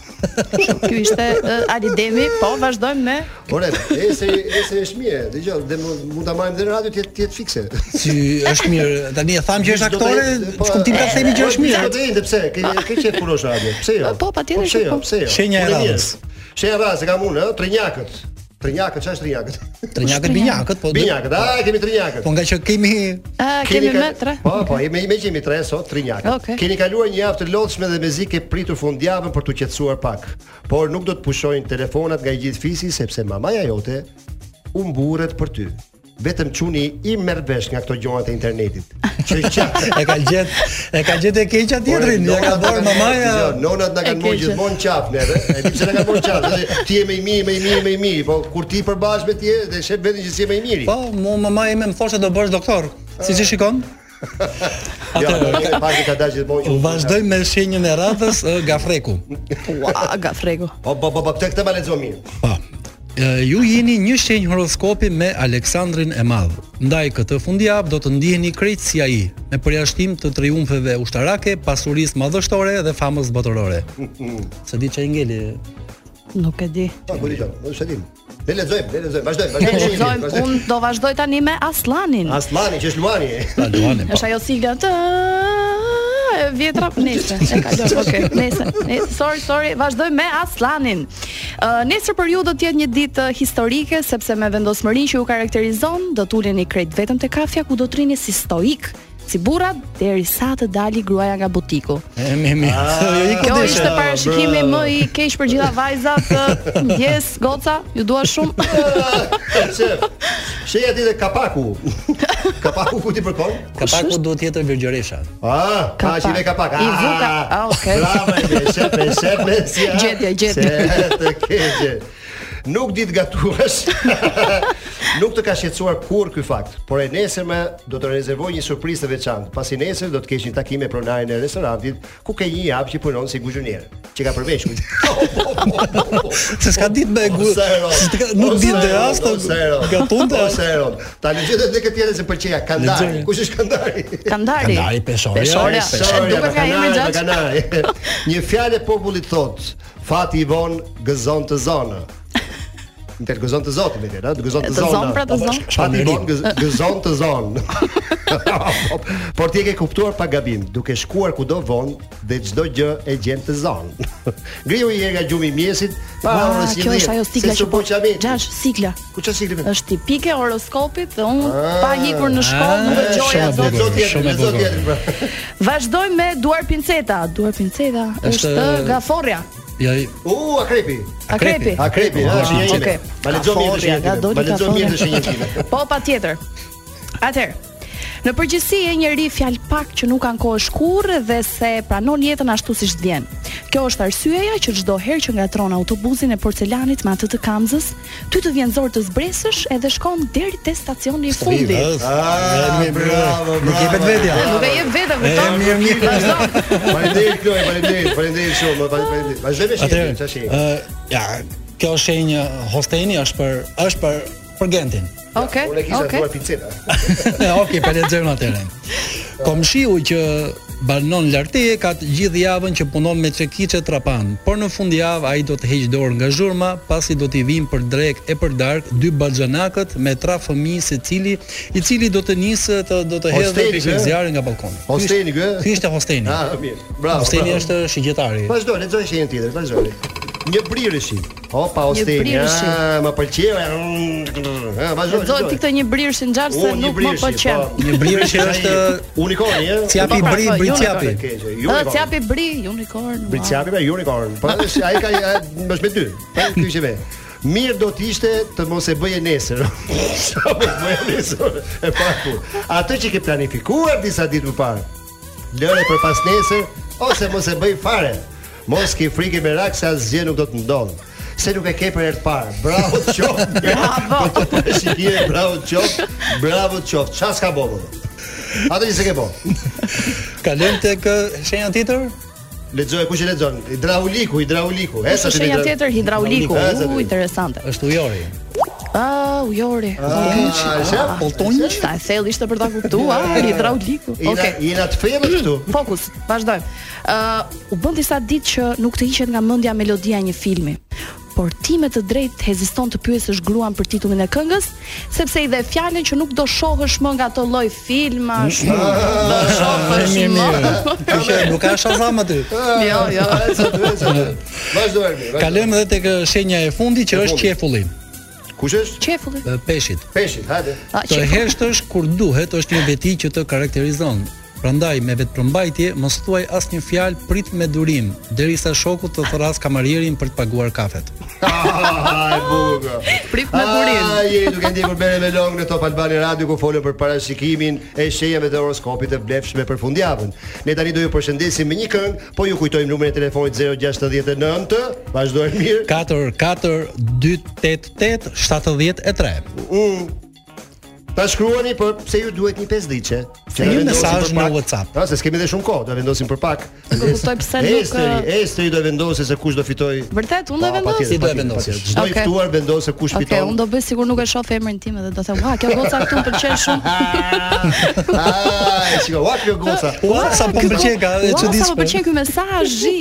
Kështu, Ky ishte uh, Ali Demi, po vazhdojmë me Ore, ese ese është mirë. Dëgjoj, dhe mund mund ta marrim dhe në radio tjetë tjetë fikse. Si është mirë, tani e tham që është aktore, shkuntim ka themi që është Po mirë. të jende pse? Ke ke qe punosh radio. Pse jo? Po, patjetër pse që jo? po. Pse jo? Shenja e Unë mirë. radhës. Shenja e radhës e kam unë, ë, trinjakët. Trinjakët, çfarë është trinjakët? Trinjakët binjakët, po. Binjakët, a, kemi trinjakët. Po nga që kemi uh, Keni kemi ka- me tre. Po, po, jemi me jemi tre sot, tre njakë. Okej. Keni kaluar një javë të lodhshme dhe me zi ke pritur fundjavën për të qetësuar pak. Por nuk do të pushojnë telefonat nga i gjithë fisi sepse mamaja jote u mburret për ty. Vetëm çuni i merr vesh nga këto gjonat e internetit. Që qatë. e ka gjet, e ka gjet e keqja tjetrin, ja ka bërë mamaja. Jo, nonat na kanë E marrë keqe. gjithmonë qaf neve. E di pse na kanë marrë qaf. se Ti je më i mirë, më i mirë, më i mirë, po kur ti përbash me ti dhe shef vetëm që si je më i miri. Po, mu mamaja ime më thoshte do bësh doktor. Si që shikon? Jo, pasi ka dashur gjithmonë që- Vazhdojmë me shenjën e radhës ë, Gafreku. Ua, ga fregu. Po, po, po, po, këtë këtë ma lexo mirë. Po. ë, Ju jeni një shenjë horoskopi me Aleksandrin e Madh. Ndaj këtë fundjavë do të ndiheni krejt si ai, me përjashtim të triumfeve ushtarake, pasurisë madhështore dhe famës botërore. Se di çai ngeli. Nuk e di. Po, kur dëgjoj, do shëtim. Ne lexojmë, ne lexojmë, vazhdojmë, Ne vazhdojmë. lexojmë, Vazhdojmë. unë do vazhdoj tani me Aslanin. Aslani, që është Luani. Ta luani. po. Është ajo sigla të e vjetra nesër. E kaloj. Okej, nesër. Nesër, sorry, sorry. Vazhdoj me Aslanin. Ë nesër për ju do të jetë një ditë ë, historike sepse me vendosmërinë që ju karakterizon do të uleni krejt vetëm te kafja ku do të rini si stoik, si burra derisa të dali gruaja nga butiku. E mi mi. Jo i Kjo kudesh. ishte parashikimi më i keq për gjitha vajzat. ë, Ndjes, goca, ju dua shumë. Shef. Sheja ti dhe kapaku. Kapaku ku ti përkon? Ka pak ku duhet tjetër virgjëresha. Ah, ka Kapak. që me kapak. I vu ka- ah, okay. Bravo, e shef, e shef, e shef. Gjetje, gjetje. Se të keqe. Nuk ditë gatuash. Nuk të ka shqetësuar kur ky fakt, por e nesërme do të rezervoj një surprizë të veçantë. Pasi nesër do të kesh një takim me pronarin e restorantit ku ka një hap që punon si kuzhinier, që ka përveç kujt. Se s'ka ditë me gu. Sa e ron. se s'ka- Nuk po O, ditë sa e dhe ron, as të o, sa e ron. gatunte. O, sa e ron. Ta lexoj edhe këtë tjetër se pëlqeja Kandari. Lexoj. Kush është Kandari? Kandari. Kandari, peshorja, Peshorja. peshorja, Duket nga emri Bakanari, gjatë. Bakanari. Një fjalë e popullit thot, fati i von gëzon të zonë. Në të gëzon të zotë, me tjera, të gëzon Të të zonë, zonë. pra, të zonë. Fati i von gëz- gëzon të zonë. Por ti e ke kuptuar pa gabim, duke shkuar kudo vonë dhe çdo gjë e gjen të zonë. Ngriu i erë nga gjumi i mjesit, pa Ah, orës 11. kjo është ajo sigla që po. Gjash, sigla. Ku çfarë sigla? është tipike horoskopit dhe unë Ah. pa hikur në shkollë nuk e Ah, gjoja shumë e zot. bukur. shumë e bukur. Vazhdojmë me duar pinceta. Duar pinceta është, Është- gaforja, Ja, U, akrepi. akrepi. Akrepi, a është një. Okej. Ma lexo mirë të Gaforja, nga shenjën. doli Ma lexo mirë të gaforja. shenjën. Po, patjetër. Atëherë, Në përgjithësi e njëri fjalë pak që nuk ankohesh kurrë dhe se pranon jetën ashtu siç vjen. Kjo është arsyeja që çdo herë që ngatron autobusin e porcelanit me atë të Kamzës, ty të vjen zorë të zbresësh edhe shkon deri te stacioni i fundit. Ah, Bravo, bravo. bravo, Nuk bravo. jepet vetja. Nuk e jep vete, E kupton? mirë mirë. Faleminderit Kloj, faleminderit, faleminderit shumë, faleminderit. Vazhdojmë me shenjën, Atëherë, çfarë shenjë? ë ja, kjo shenjë Hosteni është për është për për Gentin. Okej. Unë e kisha Okej. thuar pinceta. Okej, pa lexojmë atëherë. Komshiu që banon larteje ka të gjithë javën që punon me çekiçe trapan, por në fundjavë ai do të heq dorë nga zhurma, pasi do t'i vijnë për drek e për dark dy balxhanakët me tra fëmijë secili, i cili do të nisë të do të hedhë Hosteni, pikë ë? zjarrin nga balkoni. Ky ishte- Hosteni kë? Ky ishte Hosteni. eh? Ah, mirë. Bravo. Hosteni bravo. është shigjetari. Vazhdo, lexoj shenjën tjetër, vazhdo. Një brirëshi. Opa, Hosteni. brirëshi. Ah, më pëlqeu. ah, ah, Vazhdo. Lexoj ti këtë një brirë si ngjarë se Unë një nuk më brirëshi, pëlqen. po. Një brirë që është Unikoni, ë? Ciapi Po, bri, po, bri jo, ciapi. Ë, Ciapi. t'japi bri, unicorn. ua. Briciapi me unicorn. Po është ai ka ai- është me dy. Po ky ishte me. Mirë do të ishte të mos e bëje nesër. Sa mos bëje nesër e pa kur. Atë që ke planifikuar disa ditë më parë. Lëre për pas nesër ose mos e bëj fare. Mos ke frikë me rak se asgjë nuk do të ndodhë se nuk e ke për herë të parë. Bravo të qoftë. Bravo. Shikje, bravo të qoftë. Bravo të qoftë. Çfarë s'ka bobo? Atë që s'e ke bo. Kalojm tek uh, shenja tjetër? Lexoj kush e lexon? Hidrauliku, hidrauliku. Është shenja tjetër hidrauliku. U interesante. Është ujori. Ah, ujori. Ah, Është Poltonjë. Ta e thell ishte për ta kuptuar, hidrauliku. Okej. Jena të femër këtu. Fokus, vazhdojmë. Ë, u bën disa ditë që nuk të hiqet nga mendja melodia e një filmi por ti me të drejtë heziston të pyesësh gruan për titullin e këngës, sepse i dhe fjalën që nuk do shohësh më nga ato lloj filmash. Do shohësh Mirë, më. mirë. Kështu nuk ka shazam aty. Jo, jo. Vazhdo Ermi. Kalojm edhe tek uh, shenja e fundit që është qefulli. Kush është? Qefulli. Uh, Peshit. Peshit, hajde. A, Të qefulli. heshtësh kur duhet është një veti që të karakterizon. Prandaj me vetëpërmbajtje mos thuaj asnjë fjalë prit me durim derisa shoku të thras kamarierin për të paguar kafet. Ah, Ai bukur. Prit me burin. Ai jeni Ah, duke ndjekur bere me long në Top Albani Radio ku folën për parashikimin e shenjave të horoskopit të vlefshme për fundjavën. Ne tani do ju përshëndesim me një këngë, po ju kujtojmë numrin e telefonit 069, vazhdojmë mirë. 4 4 2 8 8 73. Mm. Ta shkruani, por pse ju duhet një pesë ditë? Se një mesazh në WhatsApp. Ha, Pra, se s'kemi dhe shumë kohë, do e vendosim për pak. Nuk e kuptoj pse nuk, Esteri, Esteri do e vendosë se kush do fitoj. Vërtet, unë do Pa, patjetër, vendos. Si do e patjetër, patjetër. vendosësh? Çdo i Okej. ftuar vendos se kush Okej, fiton. unë do bëj sigur nuk e shoh emrin tim edhe do them, "Ua, kjo goca këtu më pëlqen shumë." Ah, Ai, shiko, ua kjo goca. Ua, sa po Kjo- më pëlqen ka Ua, e Sa më çuditshme. pëlqen ky mesazhi.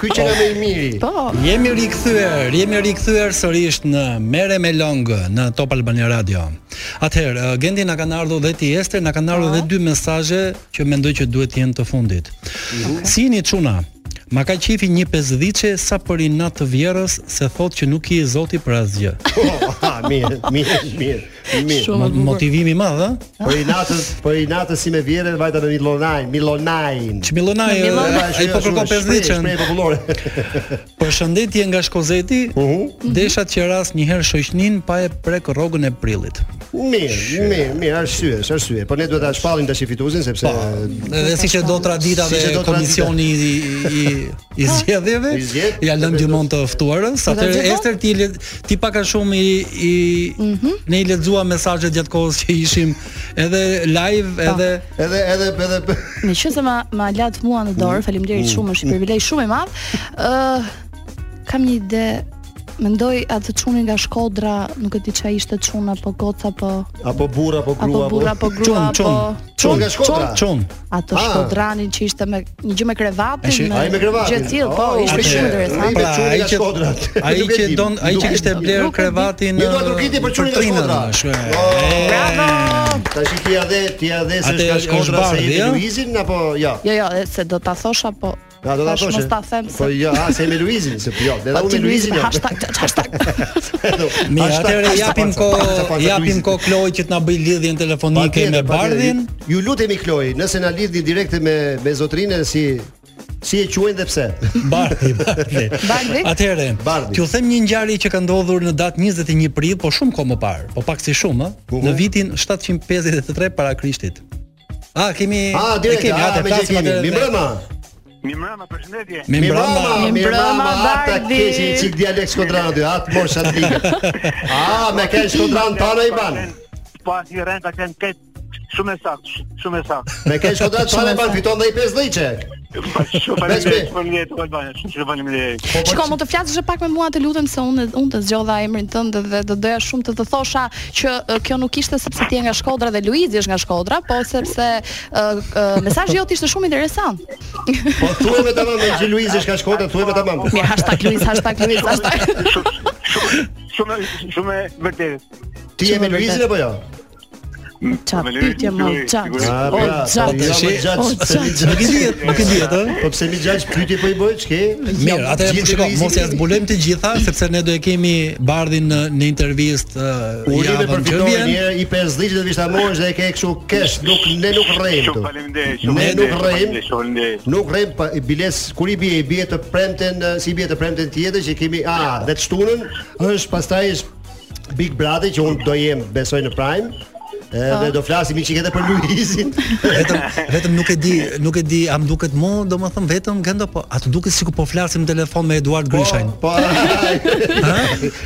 Ky që nga më i miri. Po. Jemi rikthyer, jemi rikthyer sërish në Mere me Longë në Top Albania Radio. Atëherë, ë, Gendi na kanë ardhur dhe ti Ester, na kanë ardhur dhe dy mesazhe që mendoj që duhet të jenë të fundit. Si jeni çuna? Ma ka qifi një pesdhiçe sa për i natë të vjerës se thot që nuk i e zoti për asgjë. Po, ha, mirë, mirë, mirë, mirë. Shumë e Mo- bukur. Motivimi i madh, ë? Për i natës, për i natës si me vjerë, vajta me Milonajn, Milonajn. Çmillonaj, ë, ai po kërkon pesdhiçen. Shprej popullore. Përshëndetje nga Shkozeti. Desha që ras një herë shoqnin pa e prek rrogën e prillit. Mirë, mirë, mirë, arsye, është arsye. Po ne duhet ta shpallim tash i fituesin sepse Edhe si që do tradita Si që do dhe tradita. komisioni i i, i zgjedhjeve, I zgjedh. ja lëm gjymon të ftuarës, atëherë gjithmonë? Ester ti le- ti pak a shumë i i Mhm. ne i lexua mesazhet gjatë kohës që ishim edhe live edhe edhe edhe edhe Në qëse ma, ma latë mua në Mm. dorë, faleminderit shumë, është i privilegj shumë i madh. Ë, kam një ide, mendoj atë çunin nga Shkodra, nuk e di çfarë ishte çun apo goca apo apo burra apo grua po. apo burra apo grua Çun, çun, apo Çun nga Shkodra. çon. atë Ah. Shkodranin që ishte me një gjë me krevatin, Është- Ai me krevatin. Gjë tillë, po, Oh, ishte atëherë, shumë ai interesant. me Pra, çunin ai nga që- Shkodra. Ai Nuk e që di, don, ai nuk që e kishte di. bler Nuk e di. krevatin. eh, Një duhet rukiti për çunin nga Shkodra. Bravo. Tash ti ja dhe ti ja dhe se Atë ka është Shkodra se bardhi, jemi ja? Luizin apo jo? Jo, jo, e se do ta thosh apo Ja, do ta thash, thoshe. Mos ta them. Po jo, a se me Luizin, se po jo, edhe unë me Luizin. jo. hashtag hashtag. Edhe- Mirë, hashtag- atëherë hashtag- japim hashtag- hashtag- kohë, hashtag- japim Luizin. kohë Kloj që të na bëj lidhjen telefonike Patjetër, me patjetër. Bardhin. Ju lutemi Kloi, nëse na lidhni direkte me me zotrinë si si e quajnë dhe pse. Bardhi, Bardhi. Bardhi? Atëherë, Bardhi. t'ju them një ngjarje që ka ndodhur në datë 21 prill, po shumë kohë më parë, po pak si shumë, ë, Uhu. në vitin 753 para Krishtit. A kemi Ah, e direkt, kemi, ah, atëherë, me flasim gjë kemi. atëherë Mi me- mbrëma. Me Mi mbrëma. mbrëma, mi mbrëma, mbrëma, ata Bardhi. keq i çik dialekt skodran aty, atë mosha ligë. Ah, me ke skodran tana i ban. Po asnjë rend ta kanë këtë shumë e saktë, sh- shumë e saktë. Me ke skodran tana i ban fiton dhe i 5 dhëçe. Po shumë Besme. faleminderit, faleminderit të Albania, shumë shumë faleminderit. Shiko, më të flasësh e pak me mua, të lutem se unë unë të zgjodha emrin tënd dhe do doja shumë të të thosha që e, kjo nuk ishte sepse ti je nga Shkodra dhe Luizi është nga Shkodra, po sepse uh, uh, mesazhi jot ishte shumë interesant. Po thuaj me tamam me Gji Luizi ka shkodra, thuaj me tamam. Mirë, hashtag Luiz, hashtag Luiz, hashtag. Shumë shumë shumë e vërtetë. Ti je me Luizin apo jo? Qa pytje më gjatë Ah, O pra, po, gjatë jo, më O gjatë, pse mi gjatë gjatë? Nuk e dihet, nuk e dihet, ëh. Po pse mi gjatë pyetje po i bëj, ç'ke? Mirë, atë po shikoj, mos ja zbulojmë të gjitha sepse ne do e kemi bardhin në, në intervistë uh, Uri me javën që përfitoj vjen. një herë i 50 do vish ta morësh dhe e ke kështu kesh, nuk ne nuk rrejmë këtu. Ne nuk rrejmë. Nuk rrejmë pa biles kur i bie, i bie të premten, eh, si i bie të premten tjetër që kemi a dhe të shtunën është pastaj është Big Brother që unë do jem besoj në Prime. Edhe Po. do flasim një çikete për Luizin. vetëm vetëm nuk e di, nuk e di, a më duket më, domethënë vetëm gendo po, a të duket sikur po flasim në telefon me Eduard Grishajn. Po.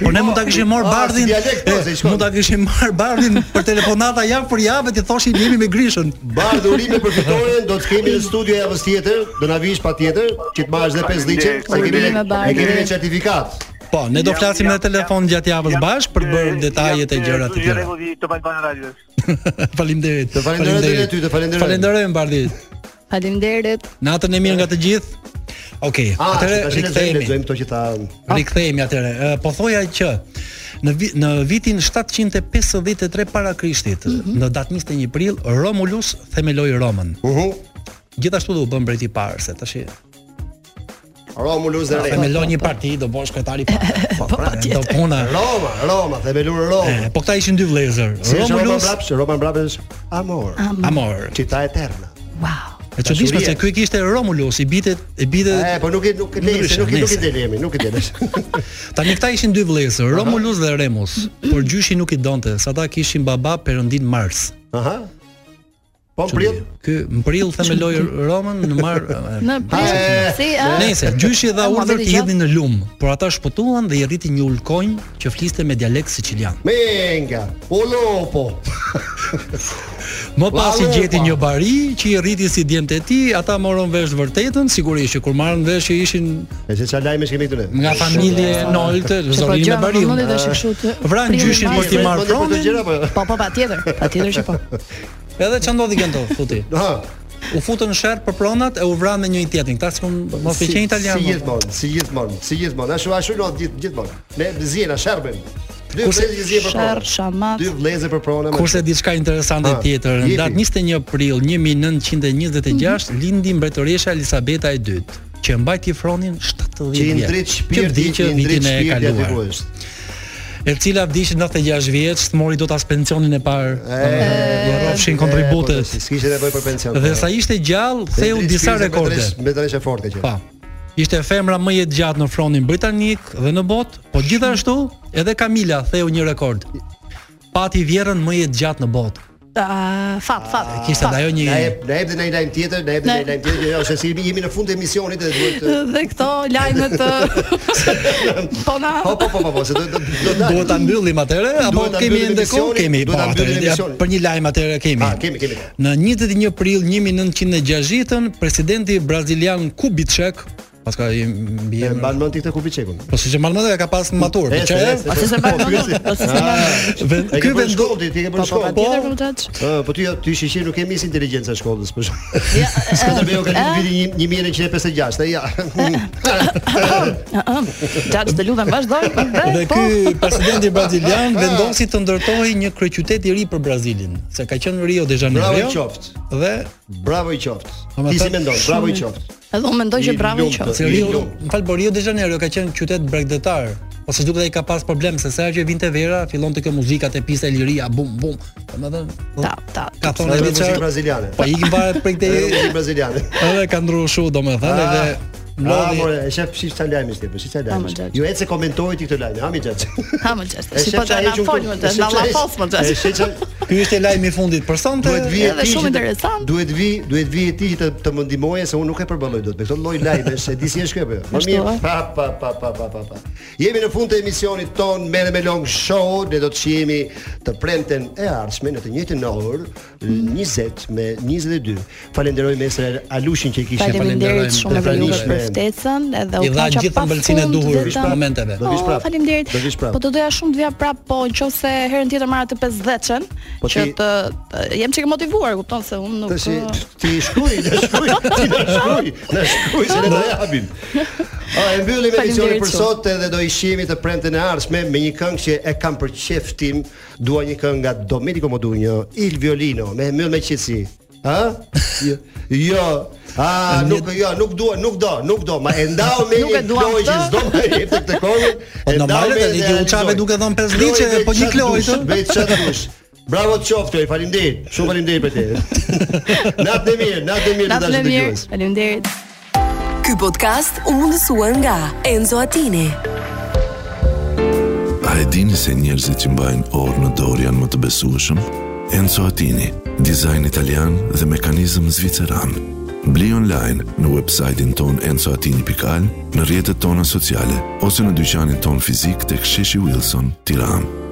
Po ne mund ta kishim marr Po, bardhin. si dialekt, po, e, se shkon. Mund ta kishim marr bardhin për telefonata javë për javë ti thoshim jemi me Grishën. Bardh urime për fitoren do të kemi në studio javës tjetër, do na vish patjetër, që të marrësh edhe 5 ditë, se kemi Urime, Bardh. e kemi një certifikat. Po, ne do flasim në telefon gjatë javës bashkë për të bërë detajet e gjërat të tjera. të Balkan Radios. Faleminderit. Të falenderoj edhe ty, të falenderoj. Falenderojmë Bardhi. Faleminderit. Natën e mirë nga të gjithë. Okej, Ah, atëre tash lexojmë, rikthehemi. lexojmë këto që ta Rikthehemi atëre. Ë, Po thoja që në vi, në vitin 753 para Krishtit, Mhm. në datë 21 prill, Romulus themeloi Romën. Uhu. Gjithashtu do u bën mbreti i parë, se tash i- Romulus dhe themelon një parti, do bën shkretari i parë. Po, pra, do puna. Roma, Roma, themelur E, Roma. Po këta ishin dy vëllezër. Si është Roma Romulus mbrapsh, Roma mbrapsh është amor. Amor. Cita eterna. E çuditshme se ky kishte Romulus, i bitet, i bitet. E, po nuk i nuk i lejë, se nuk i nuk i delemi, nuk i delesh. Tani këta ishin dy vëllezër, Romulus dhe Remus, por gjyshi nuk i donte, sa ata kishin baba Perëndin Mars. Aha. Po mprill. Ky mprill themeloi Romën në Mar. Në prill, si, a? Nëse gjyshi dha A, mua urdhër vete të gjatë? hidhin në lum, por ata shpëtuan dhe i rriti një ulkonj që fliste me dialekt sicilian. Menga. po Olopo. Më pas i Vallë, gjeti pa. një bari që i rriti si djemtë e tij, ata morën vesh vërtetën, sigurisht që kur marrën vesh që ishin E se çfarë lajmesh kemi këtu ne? nga familje Nolte, po Zorin me Bariu. Mundi të kështu të. Vran Prilli gjyshin maj. për t'i marrë pronin. Po, po, patjetër, patjetër që po. Edhe ç'a ndodhi këndo, futi. Ha. U futën në sherr për pronat e u vran me një tjetrin. Këta s'kon mos e Si- qenë italian. Si mo. gjithmonë, si gjithmonë, si gjithmonë. Ashtu ashtu lot gjithë gjithmonë. Ne zjena sherbem. Dy vëllezër që zjen për Sherr, prona. shamat. Dy vëllezër për prona. me- Kurse diçka interesante Ha, tjetër, në jepi. datë 21 prill 1926 lindi mbretëresha Elisabeta e dytë, që mbajti fronin që 70 i vjet. ndrit që shpirti, vdiqë që i ndrit vitin e shpirti aty kaluar. ku është. E cila vdiq në 96 vjeç, mori dot as pensionin e parë, do rrofshin E, kontributet. po, S'kishte nevojë për pension. Dhe sa ishte gjallë, theu disa rekorde. Me drejtë forte që. Pa. Ishte femra më e gjatë në fronin britanik dhe në botë, po gjithashtu edhe Camila theu një rekord. Pati vjerën më e gjatë në botë. Ah, Fat, fat. Kishte fat. edhe ajo një Na jep, na jep dhe na i lajm tjetër, na jep dhe na i lajm tjetër, që jo, se si jemi në fund të emisionit dhe duhet të Dhe këto lajmet ë, po na Po po po po, po, se do do do dal. Duhet ta mbyllim atëherë apo Duhet ta kemi mbyllim ende kohë? emisionin, Kemi. duhet ta po, mbyllim atëherë, ja, emisionin. Për një lajm atëherë kemi. Ah, kemi, kemi. Në 21 prill 1960-ën, presidenti brazilian Kubitschek, paska i mbi E emrin. mban mend ti këtë kufiçekun. Po si që mban mend, e ka pas në matur, po çe. Ose se mban mend, ose se mban. Vend- Ky Ky vend shkollë, ti- ti Ah, ke bërë në shkollë. tjetër po mutaj. Ë, po ti ti shiqi nuk kemi si inteligjencë e shkollës për shkak. Ja, eh, Skënderbeu ka lidhur vitin 1956, e ja. Judge, të lutem vazhdo. Dhe po. ky presidenti brazilian vendosi të ndërtohej një kryeqytet i ri për Brazilin, se ka qenë Rio de Jo? Janeiro. Bravo i qoftë. Dhe Bravo i qoftë. Ama Ti si thënë, mendon? Bravo i qoftë. Edhe unë mendoj që I bravo lumtë. që. se I Rio, lumtë. më fal, po Rio de Janeiro ka qenë qytet bregdetar. Ose duket ai ka pas problem se sa herë që vinte vera, fillon të kjo muzikat e pista e liria, bum bum. Domethënë, Ta, ta. ka Në thonë edhe muzikë çfarë braziliane. Po ikim varet prej Në këtej muzikë braziliane. edhe ka ndryshuar shu domethënë Ah, edhe Ah, mlodhi more, e shef si çfarë lajmi është, po si çfarë Ha, më lajmi. gjatë. Ju ecë komentoi ti këtë lajm, ha mi xhat. Ha më gjest. Si po të na fol më të na lafos më E gjest. shef që Ky ishte lajmi i fundit për sonte. duhet vi e Edhe ti shumë që- interesant. Duhet vi, duhet vi e ti që të, të më ndihmoje se unë nuk e përballoj dot. Me këtë lloj lajmesh e di si është kjo apo jo. Më Ashtu, mirë, a? pa pa pa pa pa pa. pa. Jemi në fund të emisionit ton Merë me Long Show, ne do të shihemi të premten e ardhshme në të njëjtën orë 20 me 22. Falenderoj mesër Alushin që kishte Faleminderit shumë edhe juve për pranishme. ftesën edhe I u dha kaq gjithë ëmbëlsinë e duhur momenteve. Do vish prap. Po, Faleminderit. Do vish prap. Po do doja shumë të vija prap, po nëse herën tjetër marra të 50-shën, Po që ti- të të- jam çike motivuar, kupton se unë nuk. eh, Të si, ë, ti shkruaj, na shkruaj, ti na shkruaj, na shkruaj se ne do japim. Ah, e mbyllim Faleminderit emisionin për shumë. sot edhe do do ishimi të premten e ardhshme me një këngë që e kam për qef tim, dua një këngë nga Domenico Modugno, Il Violino, me mëll me qetësi. Ha? Jo. jo. A, nuk, jo, nuk dua, nuk do, nuk do. Ma e ndau me Nuk e një duam kloj që këtë. s'do me jep të këtë kohë. Po normale, tani ju çave duke dhënë pesë ditë që po një kloj, të? Me çfarë dush? Bravo të qoftë, Kloj, faleminderit. Shumë faleminderit për te. Natë e mirë, natë e mirë të Natën e dashur mirë. dëgjues. Faleminderit. Ky podcast u mundësua nga Enzo Attini. A e dini se njerëzit që mbajnë orë në dorë janë më të besueshëm? Enzo Attini, dizajn italian dhe mekanizëm zviceran. Bli online në website-in ton enzoatini.al, në rjetët tona sociale, ose në dyqanin ton fizik të ksheshi Wilson, tiranë.